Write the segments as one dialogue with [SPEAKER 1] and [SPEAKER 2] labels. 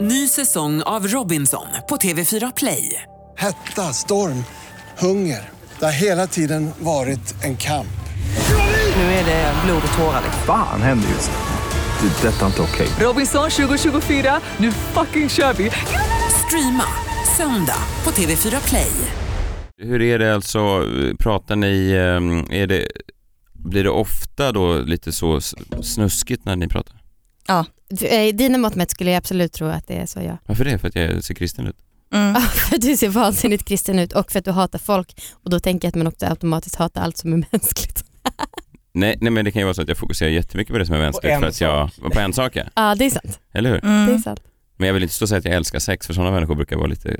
[SPEAKER 1] Ny säsong av Robinson på TV4 Play.
[SPEAKER 2] Hetta, storm, hunger. Det har hela tiden varit en kamp.
[SPEAKER 1] Nu är det blod och tårar.
[SPEAKER 3] Fan händer just nu. Det. är Detta är inte okej.
[SPEAKER 1] Robinson 2024, nu fucking kör vi! Streama söndag på TV4 Play.
[SPEAKER 4] Hur är det alltså, pratar ni, ehm, är det, blir det ofta då lite så s- snuskigt när ni pratar?
[SPEAKER 5] Ja, du, eh, i dina mått mätt skulle jag absolut tro att det är så ja.
[SPEAKER 4] Varför det? För att jag ser kristen ut?
[SPEAKER 6] Mm. Alltså,
[SPEAKER 5] Ja, för att du ser vansinnigt kristen ut och för att du hatar folk och då tänker jag att man också automatiskt hatar allt som är mänskligt.
[SPEAKER 4] Nej, nej men det kan ju vara så att jag fokuserar jättemycket på det som är mänskligt
[SPEAKER 7] en
[SPEAKER 4] för att jag, på en sak ja.
[SPEAKER 5] Ja det är sant.
[SPEAKER 4] eller hur?
[SPEAKER 6] Mm.
[SPEAKER 5] Det är sant.
[SPEAKER 4] Men jag vill inte stå och säga att jag älskar sex för sådana människor brukar vara lite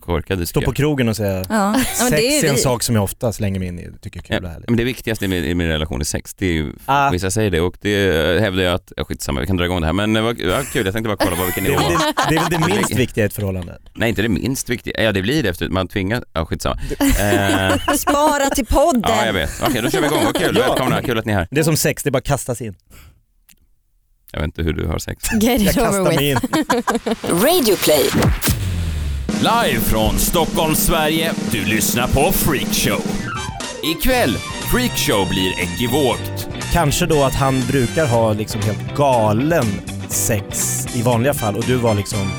[SPEAKER 4] korkade
[SPEAKER 7] Stå
[SPEAKER 4] tycker
[SPEAKER 7] på
[SPEAKER 4] jag.
[SPEAKER 7] krogen och säga
[SPEAKER 6] Ja.
[SPEAKER 7] sex är, en sak som jag ofta slänger mig in i, tycker är kul och
[SPEAKER 4] Ja,
[SPEAKER 7] härligt.
[SPEAKER 4] men det viktigaste i min, i min relation är sex, det är ju,
[SPEAKER 7] Ah.
[SPEAKER 4] vissa säger det och det eh, hävdar jag att, ja, skitsamma vi kan dra igång det här men det var, det var kul, jag tänkte bara kolla på vilken
[SPEAKER 7] Det
[SPEAKER 4] nivå
[SPEAKER 7] är, väl det, det är väl det minst viktiga i ett förhållande.
[SPEAKER 4] Nej inte det minst viktiga, ja det blir det efter man tvingas, ja skitsamma. Eh,
[SPEAKER 6] Spara till podden.
[SPEAKER 4] Ja, jag vet. Okej, då kör vi igång. Vad kul.
[SPEAKER 7] Ja.
[SPEAKER 4] Välkomna. Kul att ni är här.
[SPEAKER 7] Det är som sex, det är bara kastas in.
[SPEAKER 4] Jag vet inte hur du har sex.
[SPEAKER 5] Get
[SPEAKER 7] Jag
[SPEAKER 5] it
[SPEAKER 7] kastar
[SPEAKER 5] over with.
[SPEAKER 7] mig in.
[SPEAKER 4] Live från Stockholm, Sverige. Du lyssnar på Freakshow. Ikväll, Freakshow blir ekivokt.
[SPEAKER 7] Kanske då att han brukar ha liksom helt galen sex i vanliga fall och du var liksom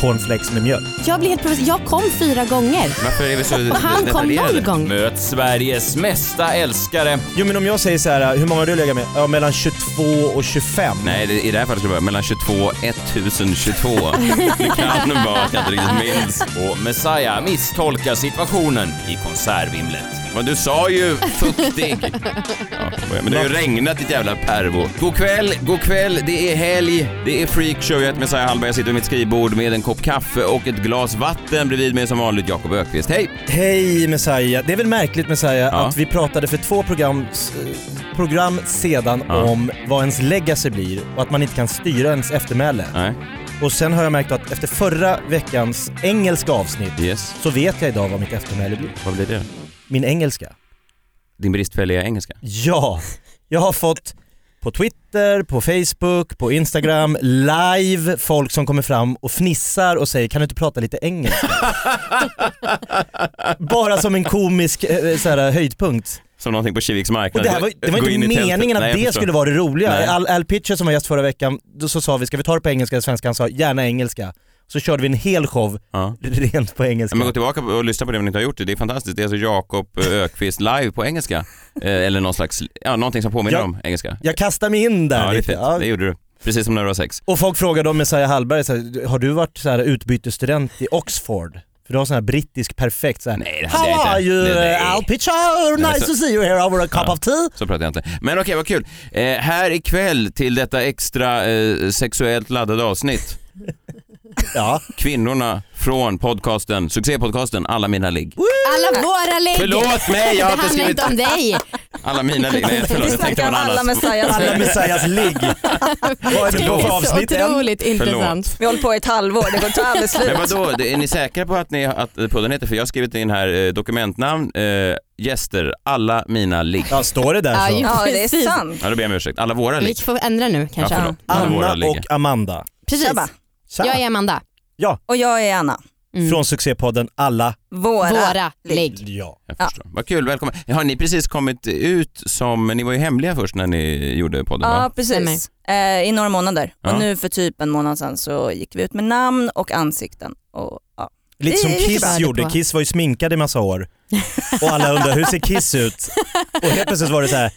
[SPEAKER 7] cornflakes med mjölk.
[SPEAKER 5] Jag blir helt provocerad. Jag kom fyra gånger.
[SPEAKER 4] Varför är vi så
[SPEAKER 5] Och han kom
[SPEAKER 4] detaljerade?
[SPEAKER 5] noll gång.
[SPEAKER 4] Möt Sveriges mesta älskare.
[SPEAKER 7] Jo men om jag säger så här, hur många har du legat med? Ja, mellan 22 och 25.
[SPEAKER 4] Nej, det, i det här fallet skulle det vara mellan 22 och 1022. Det kan vara att jag inte riktigt minns. Och Messiah misstolkar situationen i konsertvimlet. Men du sa ju fuktig. Ja, men det har ju regnat ditt jävla pervo. God kväll, god kväll, det är helg, det är freakshow. Jag heter Messiah Hallberg, jag sitter vid mitt skrivbord med en kopp kaffe och ett glas vatten bredvid mig som vanligt Jakob Ökvist. Hej!
[SPEAKER 7] Hej Messiah. Det är väl märkligt Messiah
[SPEAKER 4] Ja.
[SPEAKER 7] att vi pratade för två program, s- program sedan
[SPEAKER 4] Ja.
[SPEAKER 7] om vad ens legacy blir och att man inte kan styra ens eftermäle.
[SPEAKER 4] Nej,
[SPEAKER 7] Och sen har jag märkt att efter förra veckans engelska avsnitt
[SPEAKER 4] yes.
[SPEAKER 7] så vet jag idag vad mitt eftermäle blir.
[SPEAKER 4] Vad blir det?
[SPEAKER 7] Min engelska.
[SPEAKER 4] Din bristfälliga engelska?
[SPEAKER 7] Ja, jag har fått på Twitter, på Facebook, på Instagram, live, folk som kommer fram och fnissar och säger kan du inte prata lite engelska? Bara som en komisk eh, så här, höjdpunkt.
[SPEAKER 4] Som någonting på Kiviks
[SPEAKER 7] Och
[SPEAKER 4] marknad.
[SPEAKER 7] det, här var, det var
[SPEAKER 4] Gå in
[SPEAKER 7] inte
[SPEAKER 4] i tältet.
[SPEAKER 7] meningen att
[SPEAKER 4] Nej, jag
[SPEAKER 7] det
[SPEAKER 4] förstår.
[SPEAKER 7] skulle vara det
[SPEAKER 4] Nej.
[SPEAKER 7] roliga. Al, Al Pitcher som var gäst förra veckan, då så sa vi ska vi ta det på engelska eller svenska? Han sa gärna engelska. Så körde vi en hel show
[SPEAKER 4] Ja.
[SPEAKER 7] rent på
[SPEAKER 4] Ja,
[SPEAKER 7] engelska.
[SPEAKER 4] Men gå tillbaka och lyssna på det om ni inte har gjort det. Det är fantastiskt. Det är alltså Jakob Ökvist live på engelska. Eh, Eller någon slags, ja, någonting som påminner
[SPEAKER 7] Ja.
[SPEAKER 4] om engelska.
[SPEAKER 7] Jag kastar mig in där
[SPEAKER 4] Ja, det är
[SPEAKER 7] lite.
[SPEAKER 4] fint.
[SPEAKER 7] Ja.
[SPEAKER 4] Det gjorde du. Precis som när du har sex.
[SPEAKER 7] Och folk frågade om Messiah Hallberg, så här, har du varit så här, utbytesstudent i Oxford? För du har sån här brittisk perfekt så här,
[SPEAKER 4] Nej, det hade
[SPEAKER 7] How
[SPEAKER 4] jag inte.
[SPEAKER 7] are
[SPEAKER 4] Nej,
[SPEAKER 7] you
[SPEAKER 4] nej.
[SPEAKER 7] uh, Al Pitcher? Nice
[SPEAKER 4] Nej, så-
[SPEAKER 7] to see you here over a cup
[SPEAKER 4] Ja.
[SPEAKER 7] of tea.
[SPEAKER 4] Så pratar jag inte. Men okej, vad kul. Eh, här ikväll till detta extra eh, sexuellt laddade avsnitt.
[SPEAKER 7] Ja.
[SPEAKER 4] Kvinnorna från podcasten, succépodcasten Alla mina ligg.
[SPEAKER 5] Alla våra lägg.
[SPEAKER 4] Förlåt mig, jag har inte
[SPEAKER 5] det handlar
[SPEAKER 4] skrivit
[SPEAKER 5] inte om dig.
[SPEAKER 4] Alla mina ligg. Nej, förlåt.
[SPEAKER 6] Vi
[SPEAKER 4] Jag tänkte på
[SPEAKER 6] snackar om
[SPEAKER 4] någon
[SPEAKER 6] alla
[SPEAKER 4] annans.
[SPEAKER 6] Messias
[SPEAKER 7] Alla
[SPEAKER 6] nu.
[SPEAKER 7] Messiahs ligg. Vad är det då för avsnitt?
[SPEAKER 5] Det är så
[SPEAKER 7] En?
[SPEAKER 5] otroligt intressant.
[SPEAKER 6] Vi har hållit på i ett halvår, det går ta aldrig slut.
[SPEAKER 4] Men vadå, det- är ni säkra på att, ni, att podden heter, för jag har skrivit in här eh, dokumentnamn, eh, gäster, alla mina ligg.
[SPEAKER 7] Ja, står det där
[SPEAKER 5] Ja,
[SPEAKER 7] så?
[SPEAKER 5] ju-
[SPEAKER 6] Ja det är
[SPEAKER 5] Precis.
[SPEAKER 6] sant.
[SPEAKER 4] Ja, då ber jag om ursäkt. Alla våra
[SPEAKER 5] Vi
[SPEAKER 4] ligg.
[SPEAKER 5] får ändra nu kanske.
[SPEAKER 4] Ja, förlåt. Alla våra
[SPEAKER 7] Anna
[SPEAKER 4] ligg.
[SPEAKER 7] och Amanda.
[SPEAKER 5] Precis.
[SPEAKER 6] Tjabba.
[SPEAKER 7] Tja.
[SPEAKER 5] Jag är Amanda.
[SPEAKER 6] Och jag är Anna.
[SPEAKER 5] Mm.
[SPEAKER 7] Från succépodden Alla.
[SPEAKER 6] Våra.
[SPEAKER 5] Våra lägg.
[SPEAKER 7] Ja.
[SPEAKER 4] Jag
[SPEAKER 6] Ja.
[SPEAKER 4] förstår. Vad kul, välkommen. Har ni precis kommit ut som, ni var ju hemliga först när ni gjorde podden
[SPEAKER 6] Ja
[SPEAKER 4] va?
[SPEAKER 6] precis. Eh, I några månader.
[SPEAKER 4] Ja.
[SPEAKER 6] Och nu för typ en månad sedan så gick vi ut med namn och ansikten. Och, ja.
[SPEAKER 7] Lite som
[SPEAKER 6] Det är ju
[SPEAKER 7] Kiss
[SPEAKER 5] bra det
[SPEAKER 7] gjorde.
[SPEAKER 5] på.
[SPEAKER 7] Kiss var ju sminkad i massa år. Och alla undrar hur ser Kiss ut? Och helt plötsligt var det så här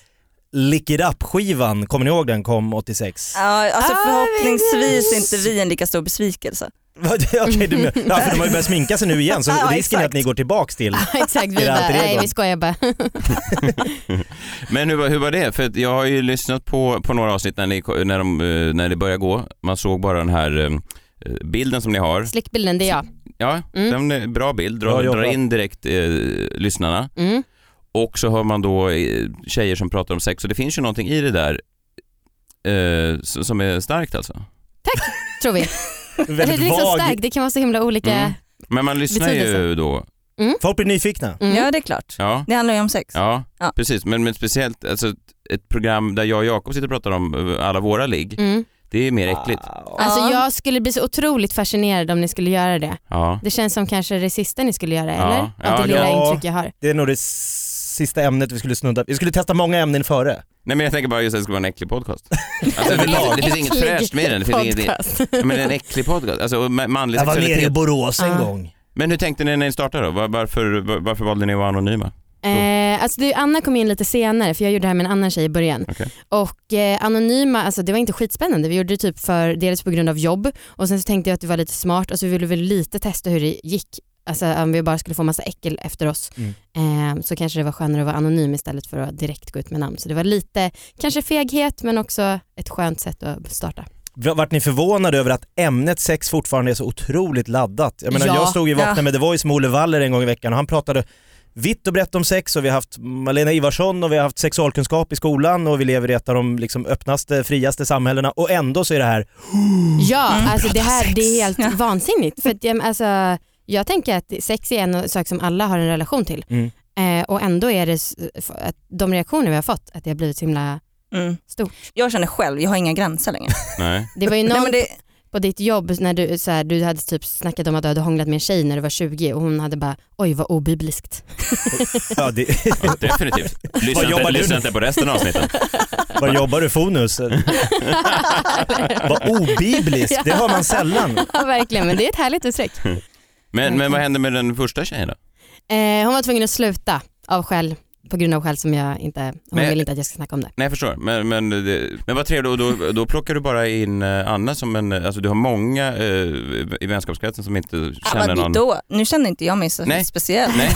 [SPEAKER 7] Lick it up-skivan, kommer ni ihåg den kom 86?
[SPEAKER 6] Ja, alltså
[SPEAKER 5] Ah,
[SPEAKER 6] förhoppningsvis är inte vi en lika stor besvikelse.
[SPEAKER 7] Vad- Okej, du, men- ja, för de har ju börjat sminka sig nu igen så
[SPEAKER 6] Ja,
[SPEAKER 7] risken är att
[SPEAKER 6] exakt.
[SPEAKER 7] ni går tillbaks till...
[SPEAKER 5] Exakt,
[SPEAKER 7] Är
[SPEAKER 5] vi
[SPEAKER 7] det
[SPEAKER 5] bara,
[SPEAKER 7] alter
[SPEAKER 5] nej
[SPEAKER 7] egon?
[SPEAKER 5] vi skojar bara.
[SPEAKER 4] Men hur, var- hur var det? För att jag har ju lyssnat på, på några avsnitt när, ni, när, de, eh, när det började gå. Man såg bara den här eh, bilden som ni har.
[SPEAKER 5] Slickbilden, det är jag.
[SPEAKER 4] Ja,
[SPEAKER 5] Mm.
[SPEAKER 4] den är bra bild.
[SPEAKER 7] Bra
[SPEAKER 4] Dra,
[SPEAKER 7] jobbat.
[SPEAKER 4] drar in direkt eh, lyssnarna.
[SPEAKER 5] Mm.
[SPEAKER 4] Och så hör man då eh, tjejer som pratar om sex och det finns ju någonting i det där eh, s- som är starkt alltså.
[SPEAKER 5] Tror vi. Eller
[SPEAKER 7] Väldigt
[SPEAKER 5] det är liksom så
[SPEAKER 7] vag.
[SPEAKER 5] starkt, det kan vara så himla olika.
[SPEAKER 4] Mm. Men man lyssnar ju
[SPEAKER 5] Betydelse.
[SPEAKER 4] då.
[SPEAKER 7] Folk blir nyfikna.
[SPEAKER 5] Mm.
[SPEAKER 6] Ja det är klart.
[SPEAKER 4] Ja,
[SPEAKER 6] Det handlar ju om sex.
[SPEAKER 4] ja,
[SPEAKER 6] Ja.
[SPEAKER 4] precis. Men, men speciellt alltså, ett- ett program där jag och Jakob sitter och pratar om eh, alla våra ligg.
[SPEAKER 5] Mm.
[SPEAKER 4] Det är mer äckligt.
[SPEAKER 5] Alltså
[SPEAKER 6] Ja.
[SPEAKER 5] jag skulle bli så otroligt fascinerad om ni skulle göra det.
[SPEAKER 4] Ja.
[SPEAKER 5] Det känns som kanske det sista ni skulle
[SPEAKER 4] Ja.
[SPEAKER 5] göra, eller?
[SPEAKER 4] Ja,
[SPEAKER 5] Av det lilla
[SPEAKER 7] ja.
[SPEAKER 5] intryck jag har.
[SPEAKER 7] Det är nog det s- sista ämnet vi skulle snudda Vi skulle testa många ämnen före.
[SPEAKER 4] Nej men jag tänker bara just att det skulle vara en äcklig podcast. Alltså, det,
[SPEAKER 5] En
[SPEAKER 4] det finns inget
[SPEAKER 5] äcklig
[SPEAKER 4] fräscht med den. Det finns inget,
[SPEAKER 5] podcast.
[SPEAKER 4] Ja, men en äcklig podcast. Alltså ma- manlig
[SPEAKER 7] Jag var nere i
[SPEAKER 4] sexualitet.
[SPEAKER 7] Borås en
[SPEAKER 5] Ja.
[SPEAKER 7] gång.
[SPEAKER 4] Men hur tänkte ni när ni startade då? Var- Varför, var- varför valde ni att vara anonyma?
[SPEAKER 5] Eh, alltså det, Anna kom in lite senare för jag gjorde det här med en annan tjej i början.
[SPEAKER 4] Okej.
[SPEAKER 5] Och eh, anonyma, alltså det var inte skitspännande. Vi gjorde det typ för, dels på grund av jobb och sen så tänkte jag att det var lite smart och så ville vi lite testa hur det gick. Alltså om vi bara skulle få massa äckel efter oss
[SPEAKER 7] Mm.
[SPEAKER 5] eh, så kanske det var skönare att vara anonym istället för att direkt gå ut med namn. Så det var lite, kanske feghet men också ett skönt sätt att starta.
[SPEAKER 7] Vart ni förvånade över att ämnet sex fortfarande är så otroligt laddat? Jag menar
[SPEAKER 5] Ja.
[SPEAKER 7] jag stod ju i Vakna
[SPEAKER 6] Ja.
[SPEAKER 7] med The Voice med Olle Waller en gång i veckan och han pratade vitt och brett om sex och vi har haft Malena Ivarsson och vi har haft sexualkunskap i skolan och vi lever i ett av de liksom öppnaste, friaste samhällena och ändå så är det här
[SPEAKER 5] Ja, alltså det här
[SPEAKER 7] Prata
[SPEAKER 5] det är
[SPEAKER 7] sex.
[SPEAKER 5] helt vansinnigt. För att, ja, men alltså, jag tänker att sex är en sak som alla har en relation till.
[SPEAKER 7] Mm.
[SPEAKER 5] Eh, och ändå är det s- f- att de reaktioner vi har fått, att det har blivit så himla
[SPEAKER 6] Mm.
[SPEAKER 5] stort.
[SPEAKER 6] Jag känner själv, jag har inga gränser längre.
[SPEAKER 4] Nej.
[SPEAKER 5] Det var ju
[SPEAKER 6] Nej,
[SPEAKER 5] någon
[SPEAKER 6] men det,
[SPEAKER 5] på ditt jobb när du, så här, du hade typ snackat om att du hade hånglat med en tjej när du var 20 och hon hade bara oj vad obibliskt.
[SPEAKER 7] Ja, det,
[SPEAKER 4] Ja, definitivt.
[SPEAKER 7] Vad
[SPEAKER 4] Lyssna inte,
[SPEAKER 7] jobbar du
[SPEAKER 4] lyssna
[SPEAKER 7] med?
[SPEAKER 4] inte på resten av avsnittet.
[SPEAKER 7] vad jobbar du Fonus? Vad obibliskt, det hör man sällan.
[SPEAKER 5] ja verkligen men det är ett härligt uttryck.
[SPEAKER 4] Men, men vad hände med den första tjejen då?
[SPEAKER 5] Eh, hon var tvungen att sluta av skäl, på grund av skäl som jag inte, hon
[SPEAKER 4] Men-
[SPEAKER 5] vill inte att jag ska snacka om det.
[SPEAKER 4] Nej jag förstår, men, men, det- men vad trevligt och då, då plockar du bara in eh, Anna som en, alltså du har många eh, i vänskapskretsen som inte
[SPEAKER 6] ja,
[SPEAKER 4] känner
[SPEAKER 6] men
[SPEAKER 4] någon.
[SPEAKER 6] då, nu känner inte jag mig så
[SPEAKER 4] Nej.
[SPEAKER 6] speciell.
[SPEAKER 4] Nej,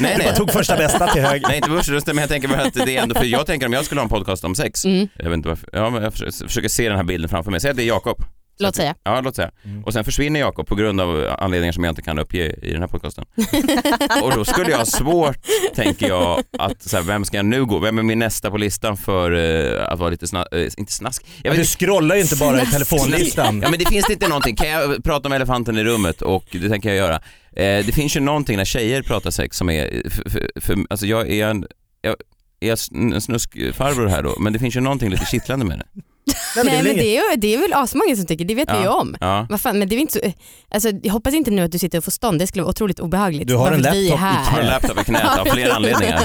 [SPEAKER 4] nej,
[SPEAKER 7] Jag
[SPEAKER 4] nej.
[SPEAKER 7] tog första bästa till höger.
[SPEAKER 4] Nej inte börsrösten men jag tänker bara att det är ändå, för jag tänker om jag skulle ha en podcast om sex,
[SPEAKER 5] Mm,
[SPEAKER 4] jag vet inte varför, ja, men jag försöker, försöker se den här bilden framför mig, säg att det är Jakob.
[SPEAKER 5] låt säga.
[SPEAKER 4] Ja låt säga. Och sen försvinner Jakob på grund av anledningar som jag inte kan uppge i den här podcasten. och då skulle jag ha svårt, tänker jag, att så här, vem ska jag nu gå, vem är min nästa på listan för eh, att vara lite snask, inte snask, jag
[SPEAKER 7] Men
[SPEAKER 4] vet
[SPEAKER 7] du scrollar ju inte bara i telefonlistan.
[SPEAKER 4] Ja men det finns inte någonting, kan jag prata om elefanten i rummet och det tänker jag göra. Eh, det finns ju någonting när tjejer pratar sex som är, för, för, för, alltså jag är en, jag, är jag sn- en snuskfarbror här då, men det finns ju någonting lite kittlande med det.
[SPEAKER 5] Nej
[SPEAKER 7] Nej, men det är
[SPEAKER 5] men
[SPEAKER 7] väl inget.
[SPEAKER 5] det är, ju- det är väl asmånga som tycker, det vet vi ju om.
[SPEAKER 4] Ja.
[SPEAKER 5] Vad fan, men det är inte så, alltså, jag hoppas inte nu att du sitter och får stånd, det skulle vara otroligt obehagligt.
[SPEAKER 7] Du har
[SPEAKER 5] Bara
[SPEAKER 7] en
[SPEAKER 5] för att vi
[SPEAKER 7] laptop
[SPEAKER 5] är
[SPEAKER 7] i
[SPEAKER 4] Jag har
[SPEAKER 5] här.
[SPEAKER 4] en laptop i knät av flera anledningar.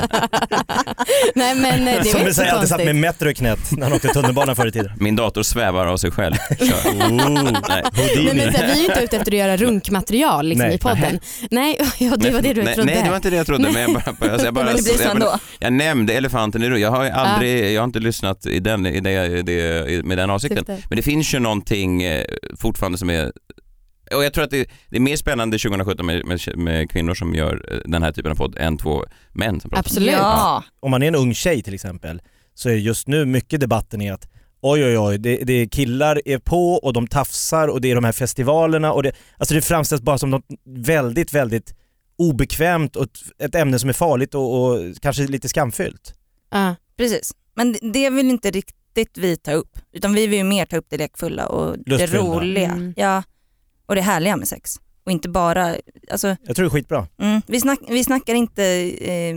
[SPEAKER 5] Nej men eh, det är
[SPEAKER 7] Som
[SPEAKER 5] väl
[SPEAKER 7] vi
[SPEAKER 5] inte så
[SPEAKER 7] säger alltid satt med
[SPEAKER 5] konstigt.
[SPEAKER 7] Metro i knät när han åkte tunnelbana förr i tiden.
[SPEAKER 4] Min dator svävar av sig själv. Kör.
[SPEAKER 7] Mm.
[SPEAKER 4] Mm. Nej.
[SPEAKER 5] Nej, men, så här, vi är ju inte ute efter att göra runkmaterial liksom,
[SPEAKER 7] Nej.
[SPEAKER 5] i podden. Nej, ja, det var det du
[SPEAKER 4] nej,
[SPEAKER 5] trodde.
[SPEAKER 4] Nej det var inte det jag trodde men jag bara, alltså, jag bara,
[SPEAKER 6] Men det blir så
[SPEAKER 4] jag, bara
[SPEAKER 6] ändå.
[SPEAKER 4] jag nämnde elefanten i rummet, jag har ju aldrig, jag har inte lyssnat i den, i det, i det, i, med den avsikten.
[SPEAKER 5] Syfte.
[SPEAKER 4] Men det finns ju någonting eh, fortfarande som är och jag tror att det, det är mer spännande 2017 med, med, med kvinnor som gör eh, den här typen av podd än två män som pratar.
[SPEAKER 5] Absolut.
[SPEAKER 6] Ja.
[SPEAKER 7] Om man är en ung tjej till exempel så är just nu mycket debatten i att oj oj oj, det, det är killar är på och de tafsar och det är de här festivalerna och det, alltså det framställs bara som något väldigt, väldigt obekvämt och ett- ett ämne som är farligt och, och kanske lite skamfyllt.
[SPEAKER 5] Ja.
[SPEAKER 6] Precis, men det- det vill inte riktigt vi ta upp. Utan vi vill ju mer ta upp det lekfulla och det
[SPEAKER 7] Lustfyllda.
[SPEAKER 6] roliga.
[SPEAKER 5] Mm.
[SPEAKER 6] Ja, och det härliga med sex. Och inte bara, alltså,
[SPEAKER 7] Jag tror det är skitbra.
[SPEAKER 6] mm, vi, snack, vi snackar inte, eh,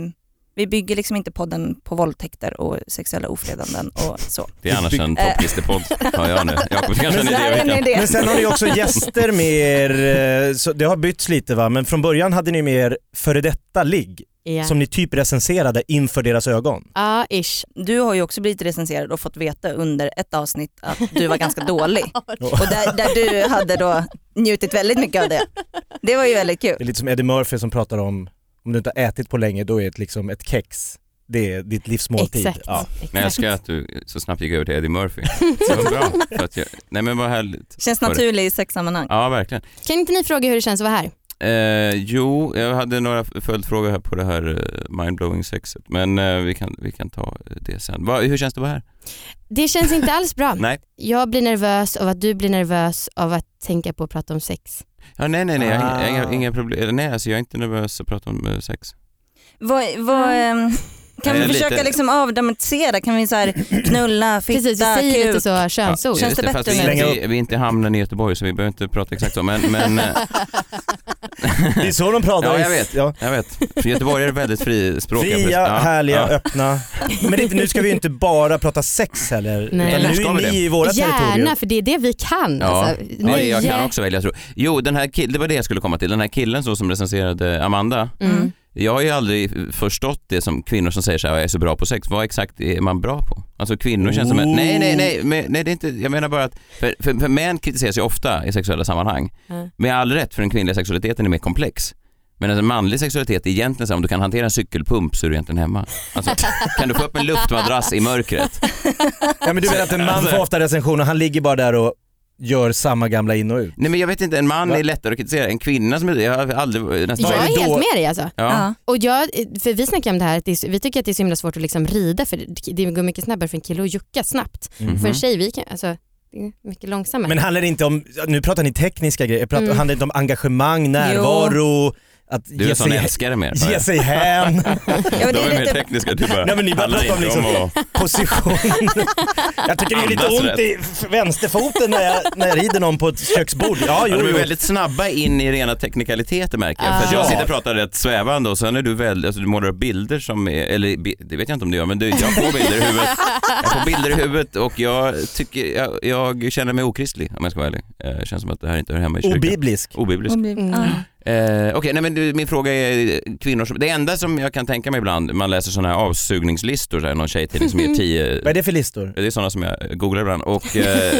[SPEAKER 6] vi bygger liksom inte podden på våldtäkter och sexuella ofredanden och så.
[SPEAKER 4] Det är annars en topplistepodd, har jag nu. Jakob, du kanske har en
[SPEAKER 6] Det här
[SPEAKER 4] idé
[SPEAKER 6] är en
[SPEAKER 4] vilken?
[SPEAKER 6] idé.
[SPEAKER 7] Men sen har ni också gäster med er, eh, så det har bytts lite va, men från början hade ni med er före detta ligg
[SPEAKER 5] Ja.
[SPEAKER 7] som ni typ recenserade inför deras ögon.
[SPEAKER 5] Ja, ish.
[SPEAKER 6] Du har ju också blivit recenserad och fått veta under ett avsnitt att du var ganska dålig. Och där, där du hade då njutit väldigt mycket av det. Det var ju väldigt kul.
[SPEAKER 7] Det är lite som Eddie Murphy som pratar om om du inte har ätit på länge då är det liksom ett kex. Det är ditt livsmåltid.
[SPEAKER 5] Exakt.
[SPEAKER 7] Ja.
[SPEAKER 4] Men jag
[SPEAKER 5] Exakt.
[SPEAKER 4] älskar att du så snabbt gick över till Eddie Murphy. Det var bra. För att jag, nej men vad härligt.
[SPEAKER 6] Känns naturligt i sexsammanhang.
[SPEAKER 4] Ja verkligen.
[SPEAKER 5] Kan inte ni fråga hur det känns att vara här?
[SPEAKER 4] Eh, jo, jag hade några följdfrågor här på det här eh, mindblowing sexet. Men eh, vi, kan, vi kan ta eh, det sen. Va, hur känns det att vara här?
[SPEAKER 5] Det känns inte alls bra.
[SPEAKER 4] Nej.
[SPEAKER 5] Jag blir nervös av att du blir nervös av att tänka på att prata om sex.
[SPEAKER 4] Ja, nej, nej, nej. Jag har
[SPEAKER 7] Ah.
[SPEAKER 4] inga, inga, inga problem. Eller Nej, alltså jag är inte nervös att prata om eh, sex.
[SPEAKER 6] Vad, vad, ehm, kan
[SPEAKER 4] Eh,
[SPEAKER 6] vi försöka
[SPEAKER 4] lite-
[SPEAKER 6] liksom avdramatisera? Kan vi så här knulla, fitta,
[SPEAKER 5] Precis, vi säger
[SPEAKER 6] kuk?
[SPEAKER 5] lite så könsord.
[SPEAKER 6] Känns
[SPEAKER 4] just
[SPEAKER 6] det
[SPEAKER 4] Fast
[SPEAKER 6] bättre
[SPEAKER 4] vi, är
[SPEAKER 7] nu?
[SPEAKER 4] inte, vi är inte i hamnen i Göteborg så vi behöver inte prata exakt så. Men, men, eh,
[SPEAKER 7] Det är så de pratar.
[SPEAKER 4] Ja, jag vet.
[SPEAKER 7] Ja.
[SPEAKER 4] Jag vet. För Göteborg är väldigt frispråkiga.
[SPEAKER 7] Fria,
[SPEAKER 4] Ja,
[SPEAKER 7] härliga,
[SPEAKER 4] ja.
[SPEAKER 7] öppna. Men det, är inte- nu ska vi ju inte bara prata sex heller.
[SPEAKER 5] Nej.
[SPEAKER 7] utan
[SPEAKER 4] Eller
[SPEAKER 7] nu
[SPEAKER 4] ska
[SPEAKER 7] är
[SPEAKER 4] vi det?
[SPEAKER 7] ni i våra territorier.
[SPEAKER 5] Gärna, för det är det vi kan.
[SPEAKER 4] Ja,
[SPEAKER 5] Alltså,
[SPEAKER 4] ja det- jag kan
[SPEAKER 5] nöje.
[SPEAKER 4] också välja tror jag. Jo, den här kill- det var det jag skulle komma till. Den här killen så som recenserade Amanda.
[SPEAKER 5] Mm.
[SPEAKER 4] Jag har ju aldrig förstått det som kvinnor som säger så här, jag är så bra på sex. Vad exakt är man bra på? Alltså kvinnor känns som, att-
[SPEAKER 7] Ooh.
[SPEAKER 4] nej nej nej, men, nej det är inte, jag menar bara att, för, för, för män kritiseras ju ofta i sexuella sammanhang.
[SPEAKER 5] Mm.
[SPEAKER 4] Med all rätt, för den kvinnliga sexualiteten är mer komplex. Men en manlig sexualitet är egentligen så här, om du kan hantera en cykelpump så är du egentligen hemma. Alltså, kan du få upp en luftmadrass i mörkret?
[SPEAKER 7] Ja, men du menar att en man får ofta recensioner, han ligger bara där och gör samma gamla in och ut.
[SPEAKER 4] Nej men jag vet inte, en man
[SPEAKER 7] Va?
[SPEAKER 4] är lättare att kritisera. En kvinna som är, jag har aldrig, nästan
[SPEAKER 5] Jag
[SPEAKER 7] Vad är
[SPEAKER 5] är
[SPEAKER 7] det
[SPEAKER 5] helt
[SPEAKER 7] då?
[SPEAKER 5] med dig alltså.
[SPEAKER 4] Ja.
[SPEAKER 5] Och jag, för vi snackade om det här, att det är, så- vi tycker att det är så himla svårt att liksom rida för det- det går mycket snabbare för en kille att jucka snabbt. För
[SPEAKER 4] Mhm.
[SPEAKER 5] en tjej, vi kan, alltså, det är mycket långsammare.
[SPEAKER 7] Men handlar det inte om, nu pratar ni tekniska grejer, pratar,
[SPEAKER 5] Mm.
[SPEAKER 7] handlar det inte om engagemang, närvaro, att
[SPEAKER 4] Du är
[SPEAKER 7] ge
[SPEAKER 4] en sån
[SPEAKER 7] sig,
[SPEAKER 4] älskare mer.
[SPEAKER 7] ge sig hän,
[SPEAKER 6] Ja, men det är lite,
[SPEAKER 4] tekniska, du bara
[SPEAKER 7] Nej, men ni bara
[SPEAKER 4] handlar
[SPEAKER 7] pratar om
[SPEAKER 4] inte
[SPEAKER 7] liksom-
[SPEAKER 4] att-
[SPEAKER 7] position. Jag tycker det är lite
[SPEAKER 4] Andas
[SPEAKER 7] ont
[SPEAKER 4] rätt.
[SPEAKER 7] i f- vänsterfoten när jag, när jag rider någon på ett köksbord. Ja,
[SPEAKER 4] Ja,
[SPEAKER 7] jo,
[SPEAKER 4] de är
[SPEAKER 7] jo.
[SPEAKER 4] väldigt snabba in i rena teknikaliteter märker jag. För att
[SPEAKER 7] Ah.
[SPEAKER 4] jag sitter och pratar rätt svävande och sen är du väldigt, alltså, du målar upp bilder som är, eller bi- det vet jag inte om du gör men du, jag får bilder i huvudet. Jag får bilder i huvudet och jag tycker, jag, jag känner mig okristlig om jag ska vara ärlig. Eh, känns som att det här inte hör hemma i kyrkan.
[SPEAKER 7] Obiblisk.
[SPEAKER 4] Obiblisk.
[SPEAKER 5] Mm.
[SPEAKER 6] Ja.
[SPEAKER 4] Eh, Okej, nej men du, min fråga är kvinnor som, det enda som jag kan tänka mig ibland, man läser sådana här avsugningslistor, så här, någon tjejtidning som ger tio
[SPEAKER 7] Vad är det för listor?
[SPEAKER 4] Det är sådana som jag googlar ibland och eh,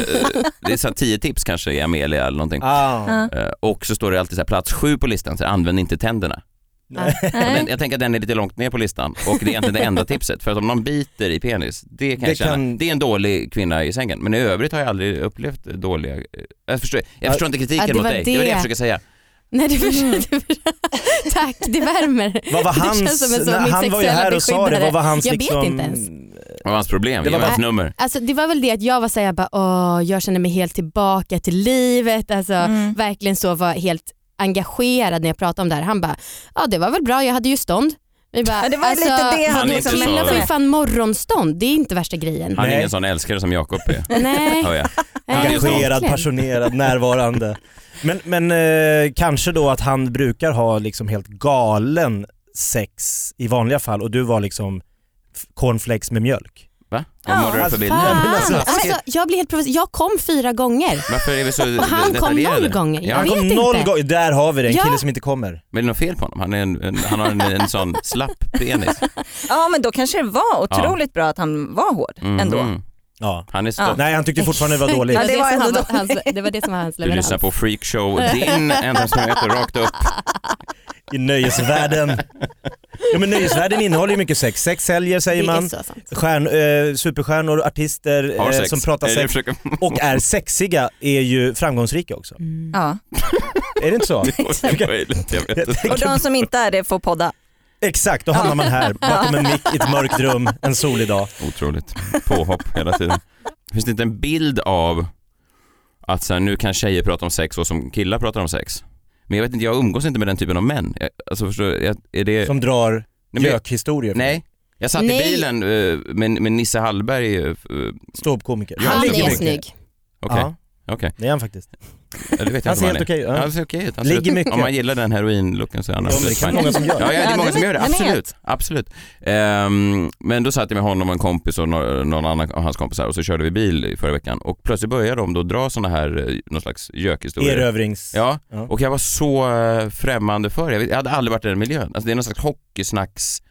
[SPEAKER 4] det är så här tio tips kanske i Amelia eller någonting.
[SPEAKER 7] Ah.
[SPEAKER 4] Eh, och så står det alltid så här, plats sju på listan, så här, använd inte tänderna.
[SPEAKER 6] nej.
[SPEAKER 4] Men jag tänker att den är lite långt ner på listan och det är egentligen det enda tipset. För att om någon biter i penis, det kan
[SPEAKER 7] Det
[SPEAKER 4] jag känna,
[SPEAKER 7] kan-
[SPEAKER 4] det är en dålig kvinna i sängen. Men i övrigt har jag aldrig upplevt dåliga, eh, jag förstår, jag förstår inte kritiken
[SPEAKER 5] ja, det
[SPEAKER 4] mot
[SPEAKER 5] var
[SPEAKER 4] dig, det var det jag
[SPEAKER 5] det.
[SPEAKER 4] försöker säga.
[SPEAKER 5] Nej, du,
[SPEAKER 6] Mm.
[SPEAKER 5] tack, det värmer.
[SPEAKER 7] Vad var
[SPEAKER 5] Det
[SPEAKER 7] hans,
[SPEAKER 5] känns som en sån-
[SPEAKER 7] när
[SPEAKER 5] min
[SPEAKER 7] han var ju
[SPEAKER 5] sexuella
[SPEAKER 7] här och sa det,
[SPEAKER 5] beskyddare.
[SPEAKER 7] vad var hans
[SPEAKER 5] Jag vet
[SPEAKER 7] liksom...
[SPEAKER 5] inte ens.
[SPEAKER 4] Vad var hans problem?
[SPEAKER 7] Det
[SPEAKER 4] Det
[SPEAKER 7] var
[SPEAKER 4] var hans
[SPEAKER 5] bara-
[SPEAKER 4] nummer.
[SPEAKER 5] Alltså, det var väl det att jag var såhär, jag, bara, åh, jag känner mig helt tillbaka till livet. Alltså,
[SPEAKER 6] Mm.
[SPEAKER 5] Verkligen så var helt engagerad när jag pratade om det här. Han bara, ja det var väl bra, jag hade ju stånd. Vi bara,
[SPEAKER 6] Ja, det var
[SPEAKER 5] alltså,
[SPEAKER 6] lite det han
[SPEAKER 5] vadå,
[SPEAKER 4] liksom
[SPEAKER 5] Killar
[SPEAKER 4] menade.
[SPEAKER 5] får ju fan morgonstånd, det är inte värsta grejen.
[SPEAKER 4] Han är
[SPEAKER 7] Nej.
[SPEAKER 4] ingen sån älskare som Jakob är,
[SPEAKER 5] Nej,
[SPEAKER 4] hör jag.
[SPEAKER 5] nej,
[SPEAKER 7] Engagerad,
[SPEAKER 5] verkligen.
[SPEAKER 7] passionerad, närvarande. Men, men eh, kanske då att han brukar ha liksom helt galen sex i vanliga fall och du var liksom f- cornflakes med mjölk.
[SPEAKER 4] Va?
[SPEAKER 6] Ja,
[SPEAKER 4] Vad målar du
[SPEAKER 7] vad
[SPEAKER 4] för bild?
[SPEAKER 5] Fan,
[SPEAKER 7] men alltså-
[SPEAKER 5] alltså, jag blir helt provocerad. Jag kom fyra gånger
[SPEAKER 4] Varför är vi så
[SPEAKER 5] och han kom
[SPEAKER 4] detaljerade?
[SPEAKER 5] noll gånger. Jag
[SPEAKER 4] Ja, han
[SPEAKER 5] vet
[SPEAKER 7] Kom
[SPEAKER 5] inte.
[SPEAKER 7] noll gånger, där har vi det, en
[SPEAKER 5] Ja.
[SPEAKER 7] kille som inte kommer.
[SPEAKER 4] Men är det något fel på honom? Han, är en, en, han har en, en sån slapp penis.
[SPEAKER 6] ja men då kanske det var otroligt bra att han var hård
[SPEAKER 4] Mhm.
[SPEAKER 6] ändå.
[SPEAKER 7] Ja.
[SPEAKER 4] Han är stött.
[SPEAKER 7] Nej han tyckte fortfarande det var dåligt.
[SPEAKER 5] Det
[SPEAKER 6] Ja,
[SPEAKER 5] var
[SPEAKER 6] det
[SPEAKER 5] det
[SPEAKER 6] var
[SPEAKER 5] som
[SPEAKER 6] ändå
[SPEAKER 5] han var- hans- det var det som var hans
[SPEAKER 4] Du
[SPEAKER 5] leverans.
[SPEAKER 4] lyssnar på Freakshow, din ensamhet rakt upp.
[SPEAKER 7] I nöjesvärlden. Ja men nöjesvärlden innehåller ju mycket sex. Sex säljer säger
[SPEAKER 5] Det är
[SPEAKER 7] man.
[SPEAKER 5] så sant.
[SPEAKER 7] Stjärn, eh, superstjärnor, artister
[SPEAKER 4] Har
[SPEAKER 7] eh,
[SPEAKER 4] sex.
[SPEAKER 7] som pratar
[SPEAKER 4] Är det jag
[SPEAKER 7] sex
[SPEAKER 4] försöker-
[SPEAKER 7] och är sexiga är ju framgångsrika också.
[SPEAKER 6] Ja.
[SPEAKER 7] Är det inte så?
[SPEAKER 4] Det är möjligt, jag vet inte.
[SPEAKER 6] Och de som inte är det får podda.
[SPEAKER 7] Exakt, då hamnar man här bakom en mick i ett mörkt rum en solig dag.
[SPEAKER 4] Otroligt påhopp hela tiden. Finns det inte en bild av att så här, nu kan tjejer prata om sex och som killar pratar om sex? Men jag vet inte, jag umgås inte med den typen av män. Jag, alltså förstår du, jag, är det...
[SPEAKER 7] Som drar
[SPEAKER 4] nej, men jag,
[SPEAKER 7] gökhistorier.
[SPEAKER 4] nej. Jag satt
[SPEAKER 5] Nej.
[SPEAKER 4] i bilen eh, med, med Nisse Hallberg. eh, f- eh,
[SPEAKER 7] Ståuppkomiker.
[SPEAKER 4] Ja,
[SPEAKER 5] Han
[SPEAKER 4] ligger
[SPEAKER 5] är
[SPEAKER 4] mycket.
[SPEAKER 5] snygg.
[SPEAKER 4] Okej,
[SPEAKER 7] Ja,
[SPEAKER 4] okej.
[SPEAKER 7] det är han faktiskt.
[SPEAKER 4] Ja, det vet jag
[SPEAKER 7] Han
[SPEAKER 4] inte
[SPEAKER 7] ser
[SPEAKER 4] vad han är.
[SPEAKER 7] helt okej ut.
[SPEAKER 4] Ja,
[SPEAKER 7] Ja.
[SPEAKER 4] Han ser okej ut. Han ser
[SPEAKER 7] Ligger
[SPEAKER 4] ut-
[SPEAKER 7] mycket.
[SPEAKER 4] Om man gillar den heroinlooken så är han
[SPEAKER 7] Ja, men det
[SPEAKER 4] absolut
[SPEAKER 7] kan
[SPEAKER 4] fine.
[SPEAKER 7] många som
[SPEAKER 4] Ja,
[SPEAKER 7] gör.
[SPEAKER 4] ja, det
[SPEAKER 6] Ja,
[SPEAKER 4] är många
[SPEAKER 6] det
[SPEAKER 4] som gör
[SPEAKER 6] vet-
[SPEAKER 4] det.
[SPEAKER 6] jag vet.
[SPEAKER 4] Absolut. absolut. Ehm, men då satt jag med honom och en kompis och no- någon annan av hans kompisar och så körde vi bil i förra veckan och plötsligt började de då dra såna här, eh, någon slags gökhistorier.
[SPEAKER 7] Erövrings...
[SPEAKER 4] Ja,
[SPEAKER 7] Ja.
[SPEAKER 4] och jag var så eh, främmande för det. Jag vet- Jag hade aldrig varit i den miljön. Alltså det är någon slags hockeysnacks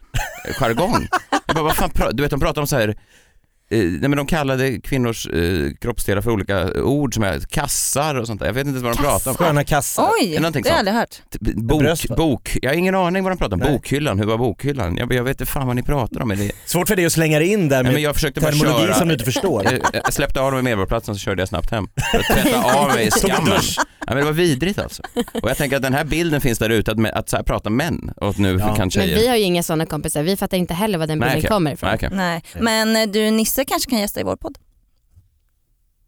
[SPEAKER 4] eh, jargong. Jag bara, vad fan, pra- du vet de pratar om så här eh, Nej men de kallade kvinnors eh, kroppsdelar för olika ord som är kassar och sånt där. Jag vet inte ens vad de pratar om.
[SPEAKER 7] Sköna kassar.
[SPEAKER 6] Oj, det har
[SPEAKER 4] någonting
[SPEAKER 6] jag
[SPEAKER 4] sånt.
[SPEAKER 6] aldrig hört.
[SPEAKER 4] T- Bok,
[SPEAKER 7] Bröst, va?
[SPEAKER 4] bok. Jag har ingen aning vad de pratar om.
[SPEAKER 7] Nej.
[SPEAKER 4] Bokhyllan, hur var bokhyllan? Jag, jag vet inte fan vad ni pratar om. Men det,
[SPEAKER 7] Svårt för dig att slänga dig in där
[SPEAKER 4] nej, men
[SPEAKER 7] med
[SPEAKER 4] jag försökte bara
[SPEAKER 7] terminologi
[SPEAKER 4] köra. Eh,
[SPEAKER 7] som du inte förstår.
[SPEAKER 4] Jag, jag släppte av dem i Medborgarplatsen så körde jag snabbt hem. För att tvätta av mig
[SPEAKER 7] Tog en
[SPEAKER 4] skammen.
[SPEAKER 7] dusch.
[SPEAKER 4] Ja, men det var vidrigt alltså. Och jag tänker att den här bilden finns där ute, att, mä- att så här pratar män och att nu
[SPEAKER 7] Ja.
[SPEAKER 4] kan
[SPEAKER 5] Men
[SPEAKER 4] tjejer...
[SPEAKER 5] vi har ju inga sådana kompisar, vi fattar inte heller var den
[SPEAKER 4] Nej,
[SPEAKER 5] bilden
[SPEAKER 4] okej.
[SPEAKER 5] kommer ifrån.
[SPEAKER 4] Nej, okej.
[SPEAKER 6] Nej. Men eh, du Nisse kanske kan gästa i vår podd?